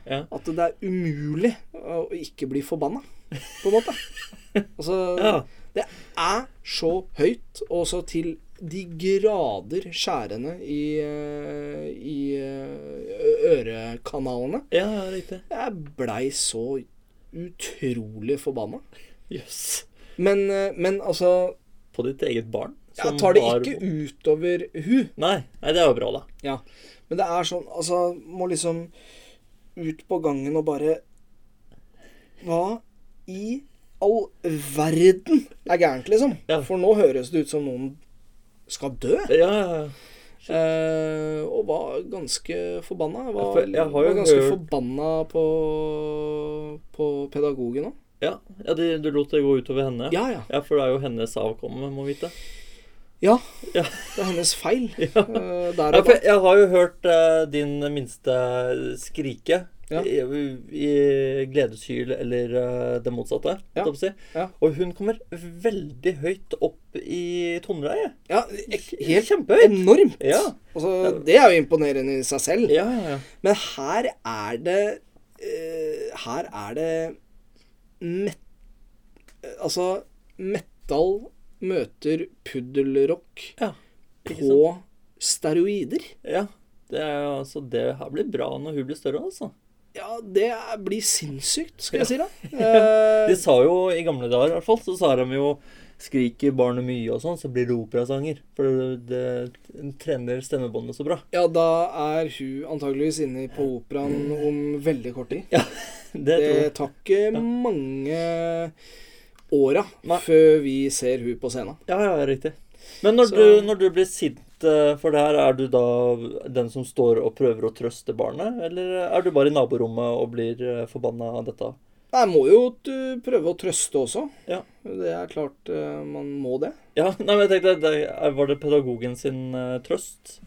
Ja.
at det er umulig å ikke bli forbanna, på en måte. Altså,
Ja.
Det er så høyt, og så til de grader skjærende i, eh, i eh, ørekanalene.
ja, riktig.
Jeg blei så utrolig forbanna.
Jøss.
Men, eh, men altså
På ditt eget barn?
Jeg tar det
har-
ikke utover hun.
Nei, nei, det er jo bra, da.
Ja. Men det er sånn Altså, må liksom ut på gangen og bare Hva i all verden er gærent, liksom?
Ja.
For nå høres det ut som noen skal dø.
Ja, ja, ja.
Eh, og var ganske forbanna.
Ja,
Var,
for jeg har jo
var ganske
hørt-
forbanna på, på pedagogen òg.
ja. ja du, du lot det gå utover henne?
Ja, ja.
ja, for det er jo hennes avkomme, må vite.
Ja.
Ja.
Det er hennes feil.
Ja.
eh, der
Ja,
og da.
for jeg har jo hørt eh, din minste skrike
Ja.
i, i gledeshyl eller eh, det motsatte.
Ja.
holdt jeg på å Si.
Ja.
Og hun kommer veldig høyt opp i toneleie.
Ja, ek- helt
Kjempehøyt.
enormt.
Ja.
Altså, det er jo imponerende i seg selv.
Ja, ja, ja.
Men her er det eh, Her er det met, Altså, metal møter puddelrock
ja. Ikke sant?
på steroider.
Ja. Det er jo altså Det her blir bra når hun blir større, altså.
Ja, det er- blir sinnssykt, skal jeg si deg.
De
Eh,
sa jo i gamle dager, i hvert fall, så sa de jo Skriker barnet mye og sånn, så blir det operasanger. For det, det trener stemmebåndet så bra.
Eh, ja, da er hun antageligvis inne på operaen om veldig kort tid.
Det tror jeg.
Det tar ikke mange åra
Nei.
før vi ser hun på scenen.
Ja, ja, riktig. Men når,
Så-
du, når du blir sint eh, for der er du da den som står og prøver å trøste barnet, eller er du bare i naborommet og blir eh, forbanna av dette?
Nei, må jo t- prøve å trøste også.
Ja.
Det er klart eh, man må det.
Ja, nei, men jeg tenkte, at det, er- Var det pedagogen sin eh, trøst?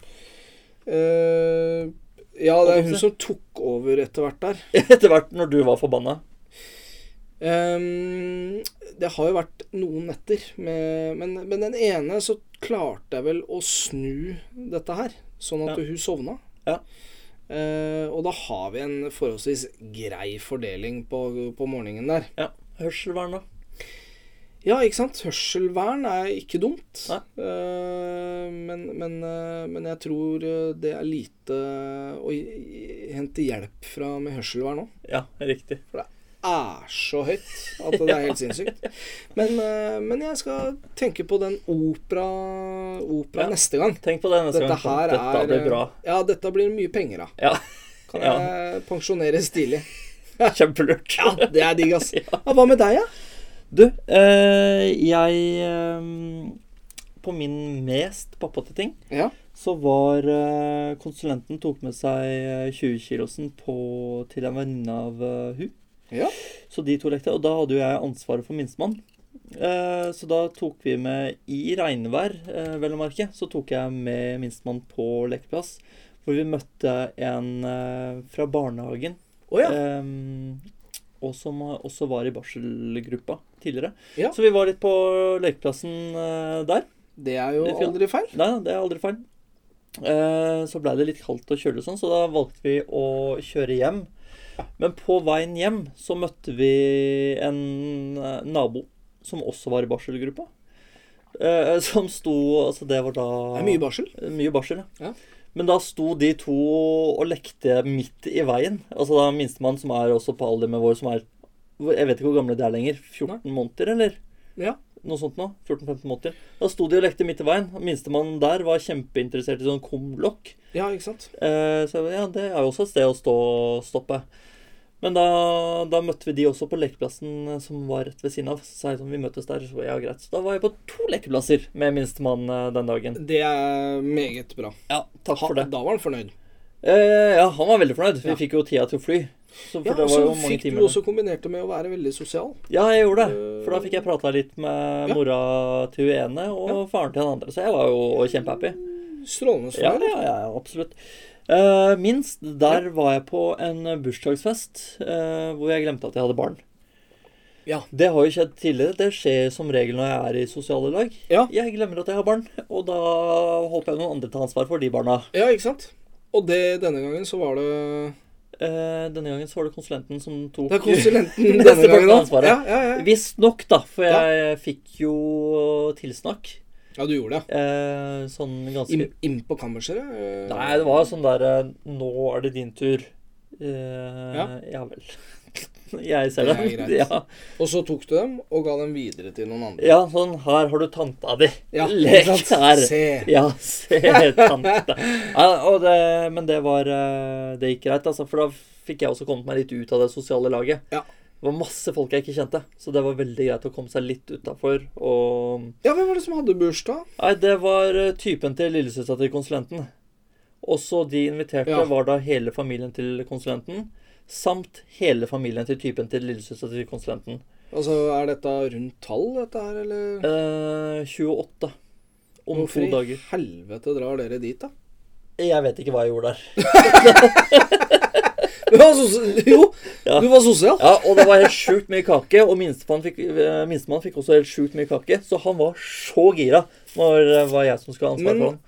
Eh, ja, det er hun som tok over etter hvert der.
Etter hvert når du var forbanna?
Ehm, det har jo vært noen netter, med, men, men den ene så klarte jeg vel å snu dette her, sånn at
Ja.
hun sovna.
Ja.
Eh, og da har vi en forholdsvis grei fordeling på, på morgenen der.
Ja. Hørselvern, da?
Ja, ikke sant? Hørselvern er ikke dumt.
Nei.
Eh, men, men, eh, men jeg tror eh, det er lite å i- hente hjelp fra med hørselvern òg.
Ja, riktig.
er så høyt at det er helt sinnssykt. Men, eh, men jeg skal tenke på den opera, opera
Ja.
neste gang.
Tenk på det neste
Dette
gang. sånn,
her
Dette
er eh,
blir bra.
Ja, dette blir mye penger av.
Ja,
Kan
Ja.
jeg pensjoneres tidlig?
Kjempelurt.
Ja, det er digg, ass. Ja, hva med deg, da?
Du, eh, jeg eh, På min mest pappate ting
Ja?
så var eh, Konsulenten tok med seg eh, 20-kilosen på- til en venninne av eh, hun.
Ja.
Så de to lekte, og da hadde jo jeg ansvaret for minstemann. Eh, så da tok vi med, i regnvær, eh, vel å merke, så tok jeg med minstemann på lekeplass. Hvor vi møtte en eh, fra barnehagen.
Å ja.
eh, og som også var i barselgruppa tidligere.
Ja.
Så vi var litt på lekeplassen eh, der.
Det er jo
det er fint.
aldri feil.
Nei, det er aldri feil. Eh, så blei det litt kaldt og kjølig og sånn, så da valgte vi å kjøre hjem. Men på veien hjem så møtte vi en eh, nabo som også var i barselgruppa. Eh, som sto Altså, det var da
Det er mye barsel.
mye barsel, ja.
Ja.
Men da sto de to og lekte midt i veien. Altså da minstemann, som er også på alder med vår, som er Jeg vet ikke hvor gamle de er lenger. 14 måneder, eller?
Ja.
Noe sånt nå. 14-15 måneder. Da sto de og lekte midt i veien. Minstemann der var kjempeinteressert i sånn kumlokk.
Ja, ikke sant?
Eh, så jeg, ba, ja, det er jo også et sted å stå og stoppe. Men da, da møtte vi de også på lekeplassen eh, som var rett ved siden av. Så sa jeg sånn, vi møtes der, så ja, greit. Så da var jeg på to lekeplasser med minstemann eh, den dagen.
Det er meget bra.
Ja, takk for det.
Da var han fornøyd.
Eh, ja, han var veldig fornøyd. Vi
Ja.
fikk jo tida til å fly. Så for
Ja,
det
og
var
så
jo mange
fikk du
timer.
også kombinert det med å være veldig sosial.
Ja, jeg gjorde det.
Eh,
For da fikk jeg prata litt med
ja.
mora til hun ene og faren til den andre, så jeg var jo kjempehappy.
Strålende
Ja,
fornøyd.
ja, ja, absolutt. Eh, minst, der var jeg på en bursdagsfest eh, hvor jeg glemte at jeg hadde barn.
Ja.
Det har jo skjedd tidligere. Det skjer som regel når jeg er i sosiale lag.
Ja.
Jeg glemmer at jeg har barn, og da håper jeg noen andre tar ansvar for de barna.
Ja, ikke sant? Og det, denne gangen så var det
Eh, denne gangen så var det konsulenten som tok
Det er konsulenten
Neste
denne gangen
part av
også.
ansvaret.
Ja, ja, ja.
Visstnok, da, for
Ja.
jeg fikk jo tilsnakk.
ja, du gjorde det.
Eh, sånn ganske
Inn inn på kammerset? eh,
Nei, det var sånn der eh, Nå er det din tur. Eh, ja.
Ja.
vel. Jeg ser
Det
det.
er greit.
Ja.
Og så tok du dem og ga dem videre til noen andre?
ja, sånn. Her har du tanta di.
Ja,
Lek
ikke sant?
her.
Se.
Ja, se tante. Ja, og det, men det var eh, Det gikk greit, altså. For da fikk jeg også kommet meg litt ut av det sosiale laget.
Ja.
Det var masse folk jeg ikke kjente, så det var veldig greit å komme seg litt utafor. Og
Ja, hvem var det som hadde bursdag?
Nei, det var eh, typen til lillesøstera til konsulenten. Også de inviterte
Ja.
var da hele familien til konsulenten. Samt hele familien til typen til lillesøstera til konsulenten.
Altså, Er dette rundt tall, dette her, eller?
Eh, 28. Om
Hvorfor
to
i
dager.
helvete drar dere dit, da?
Jeg vet ikke hva jeg gjorde der.
Du var sos- jo,
Ja.
du var sosial.
Ja, Og det var helt sjukt mye kake. Og minstemann fikk, eh, minstemann fikk også helt sjukt mye kake. Så han var så gira. Var, var jeg som skulle ha ansvaret
Men-
for han.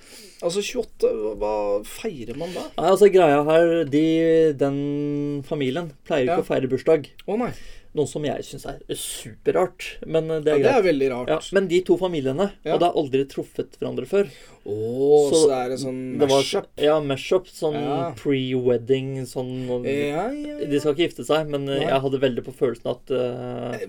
Altså, 28, hva- hva feirer man da?
Nei, altså greia her, de, Den familien pleier jo
Ja.
ikke å feire bursdag.
Å nei.
Noe som jeg syns er superrart. Men eh, det
Ja,
er
det
greit.
er veldig rart.
Ja, men de to familiene
Ja.
hadde aldri truffet hverandre før.
Å, så,
Så
det er en sånn
Det var-
mashup?
Ja, mashup. Sånn
Ja.
pre-wedding, sånn og-
Ja, ja,
De skal ikke gifte seg, men eh,
Nei.
jeg hadde veldig på følelsen at eh,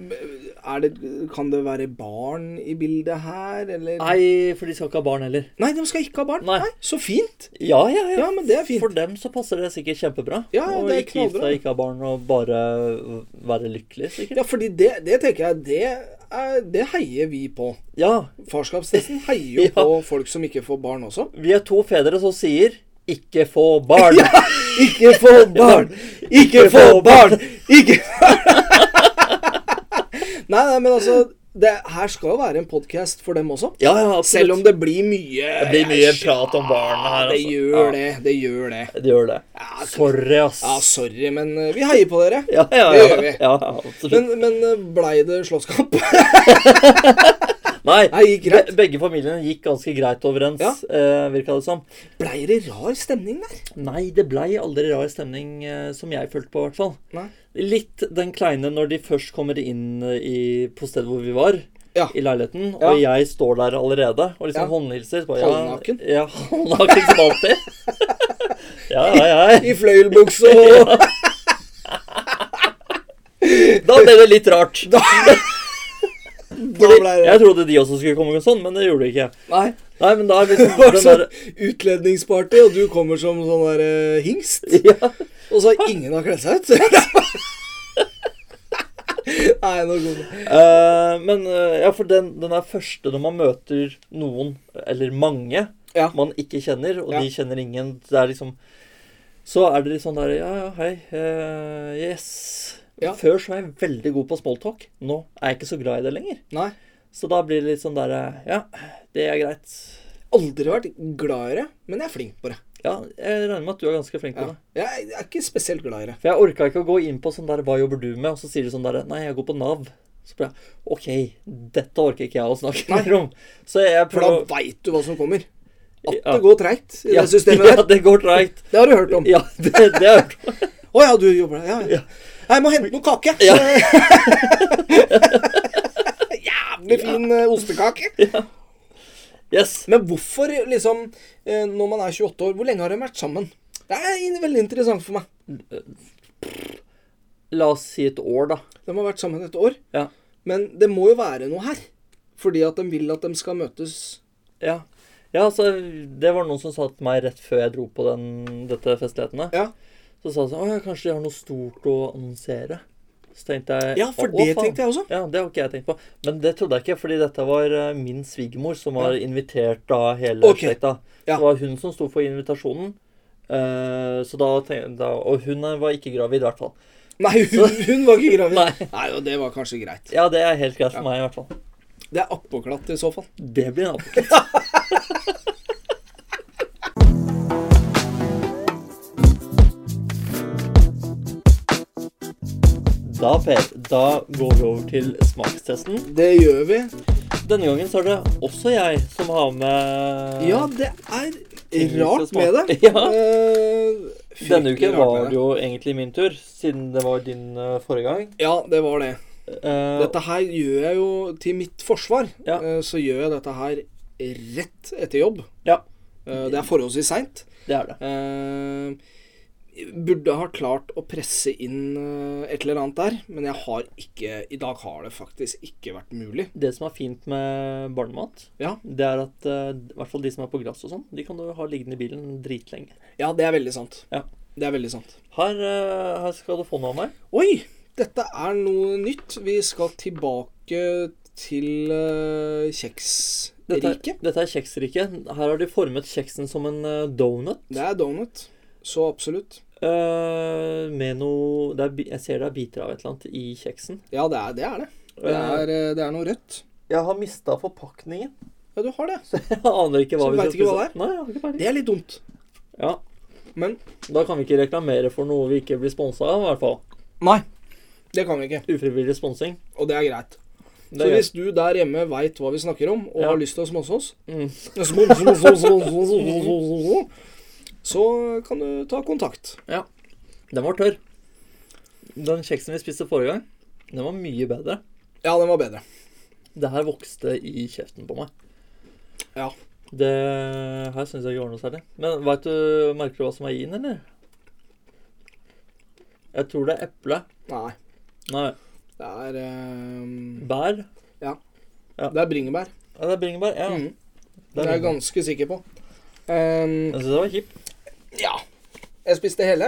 Er det, kan det være barn i bildet her, eller
Nei, for de skal ikke ha barn heller.
Nei, de skal ikke ha barn.
Nei.
Nei, Så fint!
Ja, ja, ja.
Ja, men det er fint.
For dem så passer det sikkert kjempebra.
Ja, ja,
og
det er
ikke gifte
knallbra.
seg, ikke ha barn, og bare være lykkelig, sikkert.
Ja, fordi det, det tenker jeg, det er, det heier vi på.
Ja,
Farskapstesten heier jo
Ja.
på folk som ikke får barn også.
vi er to fedre som sier 'ikke få barn'.
Ikke få barn! Ikke få barn! Ikke Nei, nei, men altså det her skal jo være en podkast for dem også.
Ja, ja, absolutt.
Selv om det blir mye
det blir mye prat om barna her.
Det
altså.
gjør
Ja,
det. Det gjør det.
det gjør det. Sorry, ass.
Ja, sorry, men eh, vi heier på dere.
Ja, ja,
det
ja.
gjør vi.
ja absolutt.
Men, men eh, blei det slåsskamp?
Nei,
Nei, gikk greit.
be- begge familiene gikk ganske greit overens,
Ja.
eh, virka det som.
Blei det rar stemning der?
Nei, det blei aldri rar stemning, eh, som jeg følte på, i hvert fall.
Nei.
Litt den kleine når de først kommer inn eh, i, på stedet hvor vi var.
Ja.
I leiligheten.
Ja.
Og jeg står der allerede og liksom
Ja.
håndhilser. så bare,
Halvnaken.
Ja, ja, halvnaken som alltid. ja, ja, ja.
I fløyelbukse og
Da ble det litt rart.
Da blei det
Jeg trodde de også skulle komme sånn, men det gjorde de ikke.
Nei.
Nei, men da er liksom
Det var
den
sånn
der,
utledningsparty, og du kommer som sånn der eh, hingst.
ja.
Og så har ingen har kledd seg ut. Nei, nå går det.
Eh, men eh, ja, for den, den er første når man møter noen, eller mange,
Ja.
man ikke kjenner, og
Ja.
de kjenner ingen. Det er liksom Så er det litt sånn der Ja, ja, hei. eh, yes.
Ja.
Før så var jeg veldig god på smalltalk. Nå er jeg ikke så glad i det lenger.
Nei.
Så da blir det litt sånn der eh, Ja, det er greit.
Aldri vært glad i det, men jeg er flink på det.
Ja, jeg regner med at du er ganske flink på
Ja.
det.
Jeg er ikke spesielt glad i det.
For jeg orka ikke å gå inn på sånn der Hva jobber du med? Og så sier de sånn der Nei, jeg går på Nav. Så ble jeg OK, dette orker ikke jeg å snakke mer om. Så jeg
For da
prøver å-
veit du hva som kommer. At
Ja.
det går treigt i det systemet
Ja,
der.
det går treigt.
Det har du hørt om. Å
Ja, det, det er
ja, du jobber der. Ja, ja.
Ja.
Nei, Jeg må hente noe kake.
Ja.
Jævlig fin eh, ostekake.
Yes.
Men hvorfor, liksom, eh, når man er 28 år, hvor lenge har de vært sammen? Det er in- veldig interessant for meg.
La oss si et år, da.
De har vært sammen et år.
Ja.
Men det må jo være noe her. Fordi at de vil at de skal møtes
Ja, ja altså, det var noen som sa til meg rett før jeg dro på den, dette festlighetene.
Ja.
Så sa de sånn Å ja, kanskje de har noe stort å annonsere. Så tenkte jeg
Ja, for det tenkte jeg også.
Ja, det har ikke jeg tenkt på. Men det trodde jeg ikke, fordi dette var eh, min svigermor som var invitert av hele
Ok.
slekta.
Ja.
Det var hun som sto for invitasjonen. Eh, så da tenkte, da, og hun eh, var ikke gravid, i hvert fall.
Nei, hun, hun var ikke gravid.
Nei.
Nei, og det var kanskje greit.
Ja, det er helt greit for meg, i hvert fall.
Det er appåklatt i så fall.
Det blir en annen Da, Per, da går vi over til smakstesten.
Det gjør vi.
Denne gangen så er det også jeg som har med
Ja, det er
Ting vi
rart
skal
med
smake.
det.
Ja.
Eh, fryktelig
Denne uken
rart med
var det jo egentlig min tur, siden det var din eh, forrige gang.
Ja, det var det.
Eh,
Dette her gjør jeg jo til mitt forsvar.
Ja.
eh, Så gjør jeg dette her rett etter jobb.
Ja.
Eh, Det er forholdsvis seint. Eh,
Det er det.
Burde ha klart å presse inn eh, et eller annet der, men jeg har ikke I dag har det faktisk ikke vært mulig.
Det som er fint med barnemat,
Ja.
det er at eh, i hvert fall de som er på glass og sånn, de kan du ha liggende i bilen dritlenge.
Ja, det er veldig sant.
Ja.
Det er veldig sant.
Her, eh, her skal du få noe av meg.
Oi! Dette er noe nytt. Vi skal tilbake til eh,
Dette, er-
kjeksriket.
dette er kjeksriket. Her har de formet kjeksen som en eh, donut.
Det er donut. Så absolutt.
eh, med noe det er, bi- Jeg ser det er biter av et eller annet i kjeksen.
Ja, det er det. Er det. Det, er, eh, det er noe rødt.
Jeg har mista forpakningen.
Ja, du har det.
Jeg aner ikke hva
Så du
vi
vet ikke hva det
spise. Nei, jeg har ikke peiling.
Det er litt dumt.
Ja,
Men
Da kan vi ikke reklamere for noe vi ikke blir sponsa av, i hvert fall.
Nei. Det kan vi ikke.
Ufrivillig sponsing.
Og det er greit.
Det
Så
er
hvis du der hjemme veit hva vi snakker om, og
Ja.
har lyst til å sponse oss,
Mm.
så kan du ta kontakt.
Den var tørr. Den kjeksen vi spiste forrige gang, den var mye bedre.
Ja, den var bedre.
Det her vokste i kjeften på meg.
Ja.
Det her syns jeg ikke var noe særlig. Men vet du, merker du hva som er i den, eller? Jeg tror det er eple.
Nei.
Nei,
Det er eh,
bær.
Det er bringebær.
Ja, det er bringebær. Ja.
Mm.
det
Det er
er
jeg
bringebær.
ganske sikker på. Ehm,
Jeg syns det var kjipt.
ja. Jeg spiste hele,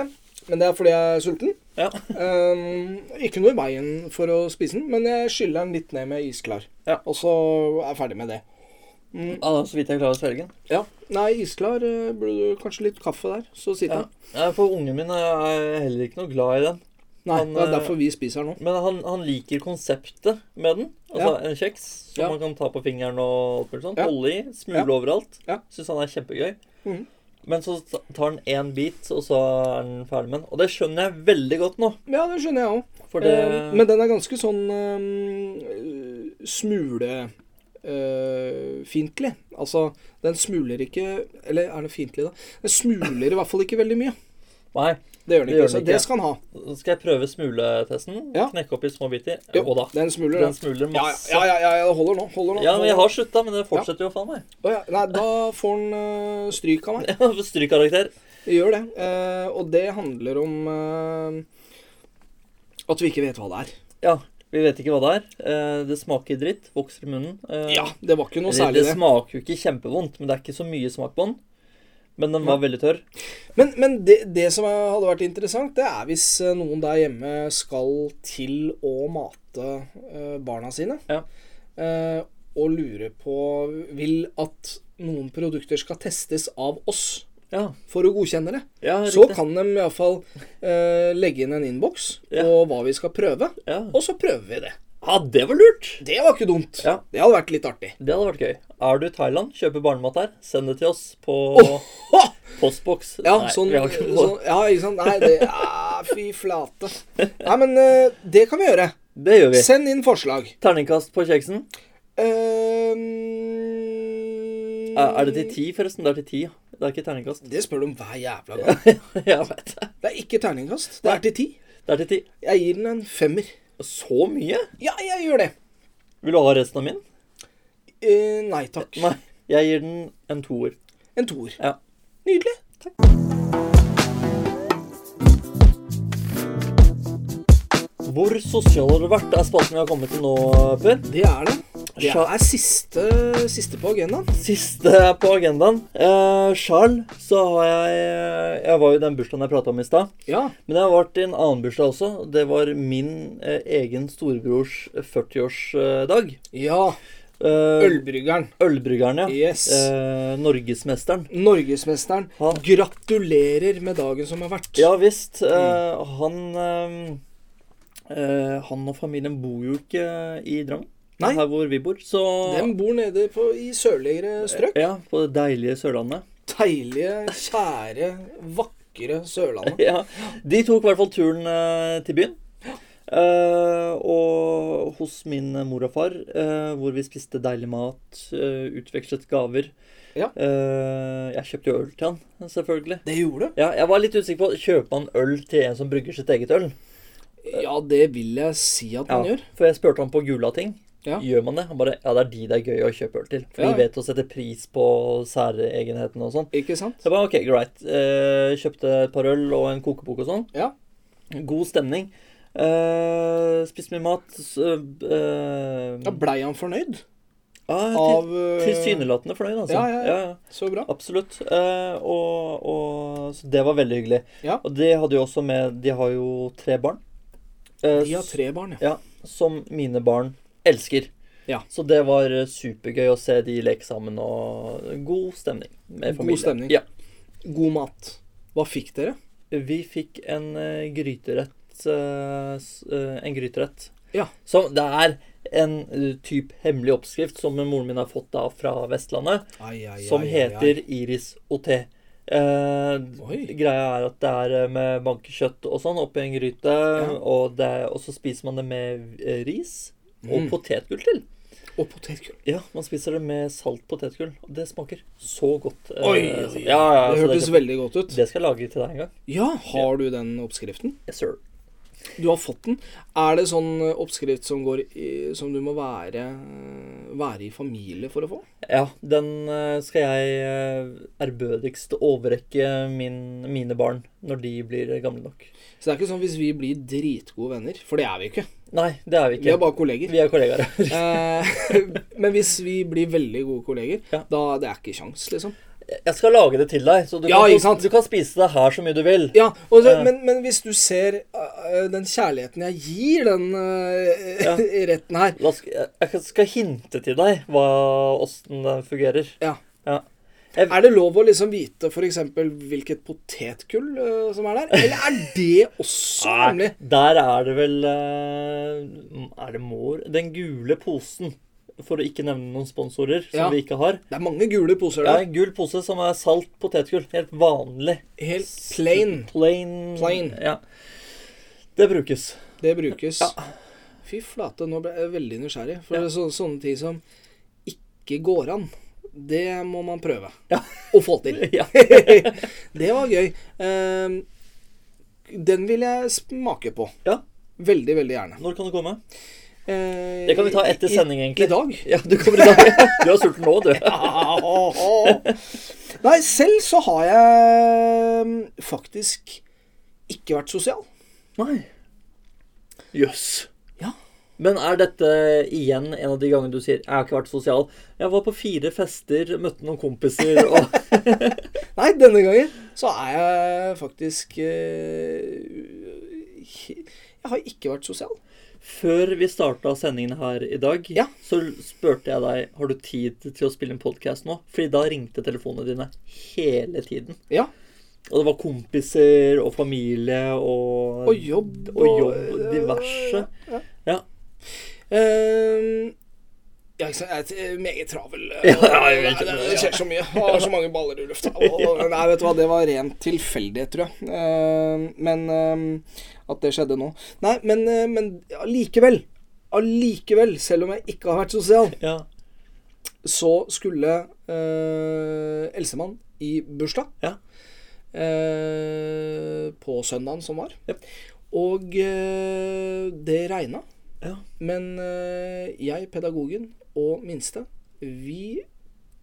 men det er fordi jeg er sulten.
Ja.
Um, ikke noe i veien for å spise den, men jeg skyller den litt ned med isklar.
Ja.
Og så er jeg ferdig med det. Mm,
Ah, så vidt jeg klarer å svelge den.
ja. Nei, isklar eh, burde du kanskje litt kaffe der, så sitter
Ja.
den.
Ja, for ungen min er heller ikke noe glad i den.
Nei,
Han,
det er
eh,
derfor vi spiser den nå.
Men han, han liker konseptet med den. Altså en kjeks som
Ja.
man kan ta på fingeren og alt mulig sånt.
Ja.
Holde i, smule
Ja.
overalt.
Ja.
Syns han er kjempegøy.
Mhm.
Men så ta- tar han én bit, og så er han ferdig med den. Og det skjønner jeg veldig godt nå.
Ja, det skjønner jeg òg.
For det
Eh, men den er ganske sånn um, smulefiendtlig. eh, altså, den smuler ikke Eller er det fiendtlig, da? Den smuler i hvert fall ikke veldig mye.
Nei.
Det gjør den ikke.
Det gjør den
så
ikke.
det skal den ha.
Så skal jeg prøve smuletesten.
Ja.
Knekke opp i små biter.
Jo,
Jo da.
Den smuler,
Den
den. Ja,
smuler masse.
ja, ja, ja, ja, det holder nå. Holder nå.
Ja, men jeg har slutta, men det fortsetter jo faen meg.
Å ja, nei, da får den eh, stryk av meg.
Strykkarakter.
Det gjør det. Eh, og det handler om eh, at vi ikke vet hva det er.
Ja, vi vet ikke hva det er. Eh, Det smaker dritt. Vokser i munnen. Eh,
Ja, Det var ikke noe
eller
særlig,
det
det.
smaker jo ikke kjempevondt, men det er ikke så mye smak på den. Men den var veldig tørr.
Men, men det, det som hadde vært interessant, det er hvis eh, noen der hjemme skal til å mate eh, barna sine,
Ja.
eh, og lurer på Vil at noen produkter skal testes av oss
Ja,
for å godkjenne det.
ja
Så
riktig.
kan de iallfall eh, legge inn en innboks
Ja.
på hva vi skal prøve,
Ja.
og så prøver vi det.
ja, det var lurt!
Det var ikke dumt.
Ja.
Det hadde vært litt artig.
Det hadde vært gøy. Er du i Thailand, kjøper barnemat her, send det til oss på
Ha!
postboks.
Ja,
Nei,
sånn,
vi har ikke noe.
sånn, ja, ikke sant. Nei, det ah, Fy flate. Nei, men eh, det kan vi gjøre.
Det gjør vi.
Send inn forslag.
Terningkast på kjeksen.
Ehm,
Er, er det til ti, forresten? Det er til ti. ja. Det er ikke terningkast.
Det spør du om hver jævla gang.
Jeg vet det.
Det er ikke terningkast. Det er til ti.
Det er til ti.
Jeg gir den en femmer.
Så mye?
Ja, jeg gjør det.
Vil du ha resten av min?
Eh, nei takk.
Nei. Jeg gir den en toer.
En toer.
Ja.
Nydelig.
Hvor sosial har du vært? er spalten vi har kommet til nå, Per.
Det er det. Det
Sja-
er siste, siste på agendaen.
Siste på agendaen. Eh, Sjal, så har jeg Jeg var jo i den bursdagen jeg prata om i stad.
Ja.
Men jeg har vært i en annen bursdag også. og Det var min eh, egen storebrors eh, 40-årsdag.
ja.
Eh,
Ølbryggeren.
Ølbryggeren, ja.
Yes.
Eh, Norgesmesteren.
Norgesmesteren.
Han-
Gratulerer med dagen som har vært.
Ja visst.
Mm.
Eh, han eh, eh, Han og familien bor jo ikke eh, i Drammen.
Nei.
Her hvor vi bor. Så
Den bor nede på, i sørligere strøk.
Ja, på det deilige Sørlandet.
Deilige, kjære, vakre Sørlandet.
Ja. De tok i hvert fall turen eh, til byen. Eh, og hos min mor og far, eh, hvor vi spiste deilig mat, eh, utvekslet gaver.
Ja.
Eh, jeg kjøpte jo øl til han, selvfølgelig.
Det gjorde det.
Ja, jeg var litt usikker på Kjøper man øl til en som brygger sitt eget øl?
Ja, det vil jeg si at man gjør.
For jeg spurte han på Gulating.
Ja.
Gjør man det? Han bare Ja, det er de det er gøy å kjøpe øl til. For
Ja, ja.
de vet å sette pris på særegenhetene og sånn.
Ikke sant?
Så jeg bare OK, greit. Eh, kjøpte et par øl og en kokebok og sånn.
Ja.
God stemning. Eh, spiste mye mat. s- eh, eh,
Da blei han fornøyd?
ja,
Av
til-
eh,
Tilsynelatende fornøyd, altså.
Ja, ja, ja.
ja.
Så bra.
Absolutt. Eh, og, og Så det var veldig hyggelig.
Ja.
Og det hadde jo også med De har jo tre barn. Eh,
De har tre barn, ja.
Ja, som mine barn elsker.
Ja.
Så det var eh, supergøy å se de leke sammen, og god stemning
God
med familien.
stemning.
Ja.
God mat. Hva fikk dere?
Vi fikk en eh, gryterett eh, s- eh, En gryterett.
Ja.
Så det er en eh, typ hemmelig oppskrift som moren min har fått da fra Vestlandet,
Ai, ai,
som
ai, ai, ai.
heter iris og te. Eh,
Oi.
greia er at det er eh, med bankekjøtt og sånn oppi en gryte, og, det, og så spiser man det med eh, ris og
Mm.
potetgull til.
Og potetgull.
Ja, man spiser det med salt potetgull, og det smaker så godt. eh,
Oi, oi, oi.
sånn. Ja, ja,
Det
så
hørtes veldig godt ut.
Det skal jeg lage til deg en gang.
Ja, har du den oppskriften?
Yes, sir.
Du har fått den. Er det sånn oppskrift som, går i, som du må være, eh, være i familie for å få?
Ja, den eh, skal jeg eh, ærbødigst overrekke min, mine barn når de blir gamle nok.
Så det er ikke sånn hvis vi blir dritgode venner, for det er vi ikke.
Nei, det er vi
Vi
ikke.
er bare kolleger.
Vi er kollegaer.
Eh, men hvis vi blir veldig gode kolleger,
Ja.
da det er ikke kjangs, liksom.
Jeg skal lage det til deg, så du,
Ja, ikke
kan,
sant?
du, kan spise det her så mye du vil.
Ja, og så,
Ja.
men, men hvis du ser øh, den kjærligheten jeg gir den øh,
Ja.
retten her
La oss, jeg jeg skal hinte til deg hva, åssen det fungerer.
ja.
Ja.
Er det lov å liksom vite f.eks. hvilket potetgull øh, som er der? Eller er det også hemmelig?
der er det vel eh, Er det mår? Den gule posen, for å ikke nevne noen sponsorer som
Ja.
vi ikke har.
Det er mange gule poser
Det er
der.
en gul pose som er salt potetgull. Helt vanlig.
Helt plain.
Plain.
Plain.
Ja. Det brukes.
Det brukes. Fy flate, nå ble jeg veldig nysgjerrig. For så, sånne ting som ikke går an, det må man prøve
Ja.
å få til.
Ja.
det var gøy. Ehm, den vil jeg smake på.
ja.
Veldig, veldig gjerne.
Når kan du komme?
Eh,
Det kan vi ta etter
i-
sending,
I,
egentlig.
I dag?
Ja, du kommer i dag. Du er sulten nå, du.
Nei, selv så har jeg mm, faktisk ikke vært sosial.
Nei. Jøss.
Ja.
Men er dette igjen en av de gangene du sier 'jeg har ikke vært sosial'? Jeg var på fire fester, møtte noen kompiser og
Nei, denne gangen så er jeg faktisk eh, he- Jeg har ikke vært sosial.
Før vi starta sendingen her i dag,
Ja.
så spurte jeg deg har du tid til å spille en podkast nå. Fordi da ringte telefonene dine hele tiden.
Ja,
Og det var kompiser og familie og
Og jobb
og, jobb, og diverse.
Ja.
Ja.
Ehm, ja, ikke sant. Jeg er et meget travel eh,
Ja, ja, jeg vet
det,
det,
det skjer så mye. Har så mange baller i lufta. Og, nei, vet du hva, det var ren tilfeldighet, tror jeg. Ehm, men ehm, At det skjedde nå. Nei, men, eh, men allikevel. Allikevel, selv om jeg ikke har vært sosial,
ja.
så skulle eh, Elsemann i bursdag.
Ja.
Eh, på søndagen som var.
Jep.
Og eh, det regna.
Ja.
Men eh, jeg, pedagogen og minste, vi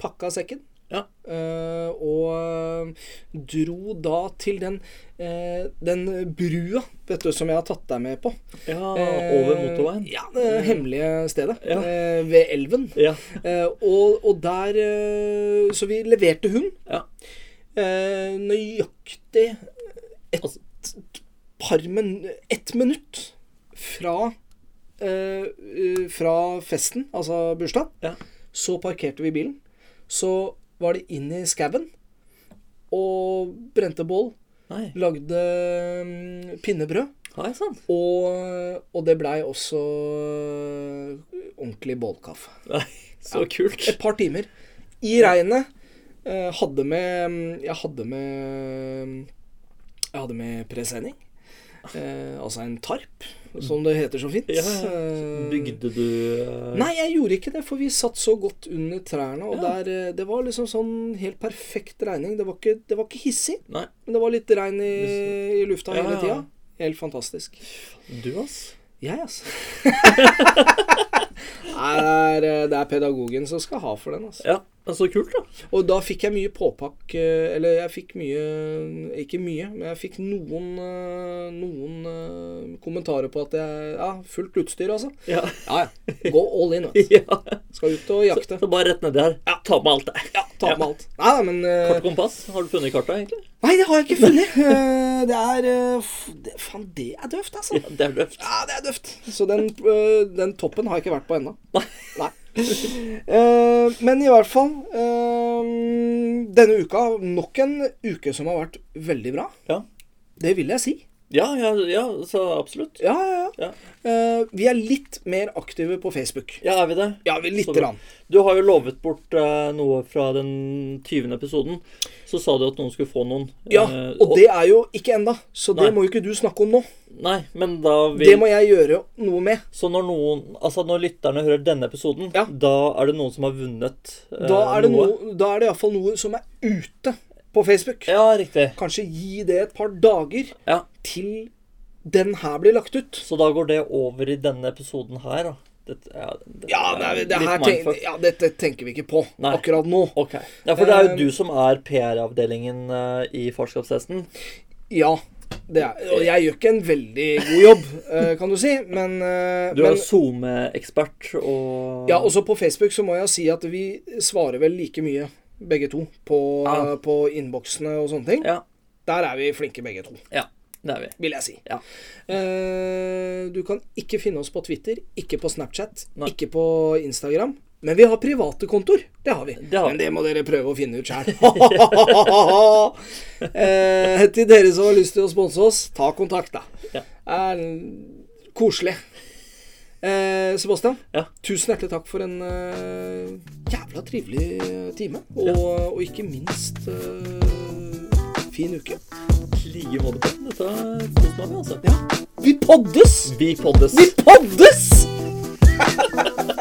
pakka sekken.
Ja.
eh, og eh, dro da til den, eh, den brua vet du, som jeg har tatt deg med på.
ja.
Eh,
Ah, Over motorveien.
Ja, det hemmelige stedet.
Ja.
eh, ved elven.
Ja.
Eh, og, og der eh, Så vi leverte hund.
Ja.
Eh, nøyaktig et
Altså-
par min, ett minutt fra eh, eh, Fra festen, altså bursdag,
Ja.
så parkerte vi bilen. Så var det inn i skauen og brente bål,
Nei.
lagde mm, pinnebrød.
Nei, sant.
Og, og det blei også eh, ordentlig bålkaffe.
Nei. Så kult.
Et par timer. I regnet. eh, Hadde med mm, Jeg hadde med Jeg hadde med presenning. Eh, altså en tarp, som det heter så fint.
Ja, ja.
Eh,
Bygde du eh,
Nei, jeg gjorde ikke det, for vi satt så godt under trærne. Og
Ja.
der, eh, det var liksom sånn helt perfekt regning. Det var ikke, det var ikke hissig,
Nei.
men det var litt regn i, i lufta
Ja,
hele
ja.
tida. Helt fantastisk.
Du, ass.
Jeg, altså. Nei, det er, det er pedagogen som skal ha for den. altså.
Ja. Men så kult, da.
Og da fikk jeg mye påpakk eh, Eller jeg fikk mye Ikke mye, men jeg fikk noen eh, Noen eh, kommentarer på at jeg Ja, fullt utstyr, altså.
Ja.
Ja, ja. Gå all in. Vet.
ja.
du. Skal ut og jakte.
Så bare rett nedi her. Ta med alt, det.
Ta med alt. Nei da, men eh,
Kart og kompass. Har du funnet kartet, egentlig?
Nei, det har jeg ikke funnet. Eh, Det er eh, f- det- Faen, det er døvt, altså.
Ja, det er døvt.
Ja, det er døvt. Så den, øh, den toppen har jeg ikke vært på ennå. Nei. Eh, men i hvert fall eh, Denne uka, nok en uke som har vært veldig bra.
Ja.
Det vil jeg si.
Ja, ja, ja, så absolutt.
Ja, ja, ja.
Ja.
Eh, vi er litt mer aktive på Facebook.
Ja, er vi det?
Ja, vi
Så
lite
bra.
grann.
Du har jo lovet bort eh, noe fra den 20. episoden. Så sa du at noen skulle få noen.
Ja,
eh,
og det er jo ikke enda, så det
Nei.
må jo ikke du snakke om nå.
Nei, men da vil
Det må jeg gjøre noe med.
Så når noen Altså, når lytterne hører denne episoden,
Ja.
da er det noen som har vunnet eh,
Da er det, noe, da er det iallfall noe som er ute på Facebook.
Ja, riktig.
Kanskje gi det et par dager.
Ja.
til den her blir lagt ut.
Så da går det over i denne episoden her, da. Dette, ja, det,
Ja, nei, det her tenk,
mindfuck.
ja, dette tenker vi ikke på
Nei.
akkurat nå.
Ok. Ja, for det er
Eh,
jo du som er PR-avdelingen eh, i farskapstesten.
Ja, det er, og jeg gjør ikke en veldig god jobb, eh, kan du si, men, eh,
Du er
men
jo SoMe-ekspert og
ja, også på Facebook så må jeg si at vi svarer vel like mye begge to, på,
Ja.
på innboksene og sånne ting.
Ja,
Der er vi flinke begge to,
ja, det er vi.
vil jeg si.
Ja.
Eh, du kan ikke finne oss på Twitter, ikke på Snapchat,
Nei.
ikke på Instagram. Men vi har private kontor. Det har vi.
Det har vi.
Men det må dere prøve å finne ut sjæl. eh, til dere som har lyst til å sponse oss, ta kontakt, da.
Ja.
Er koselig. Eh, Sebastian,
Ja.
tusen hjertelig takk for en eh, jævla trivelig eh, time. Og,
Ja.
og ikke minst eh, fin uke.
I like måte. Pen. Dette koste meg med, altså.
Vi poddes!
Vi poddes.
Vi poddes!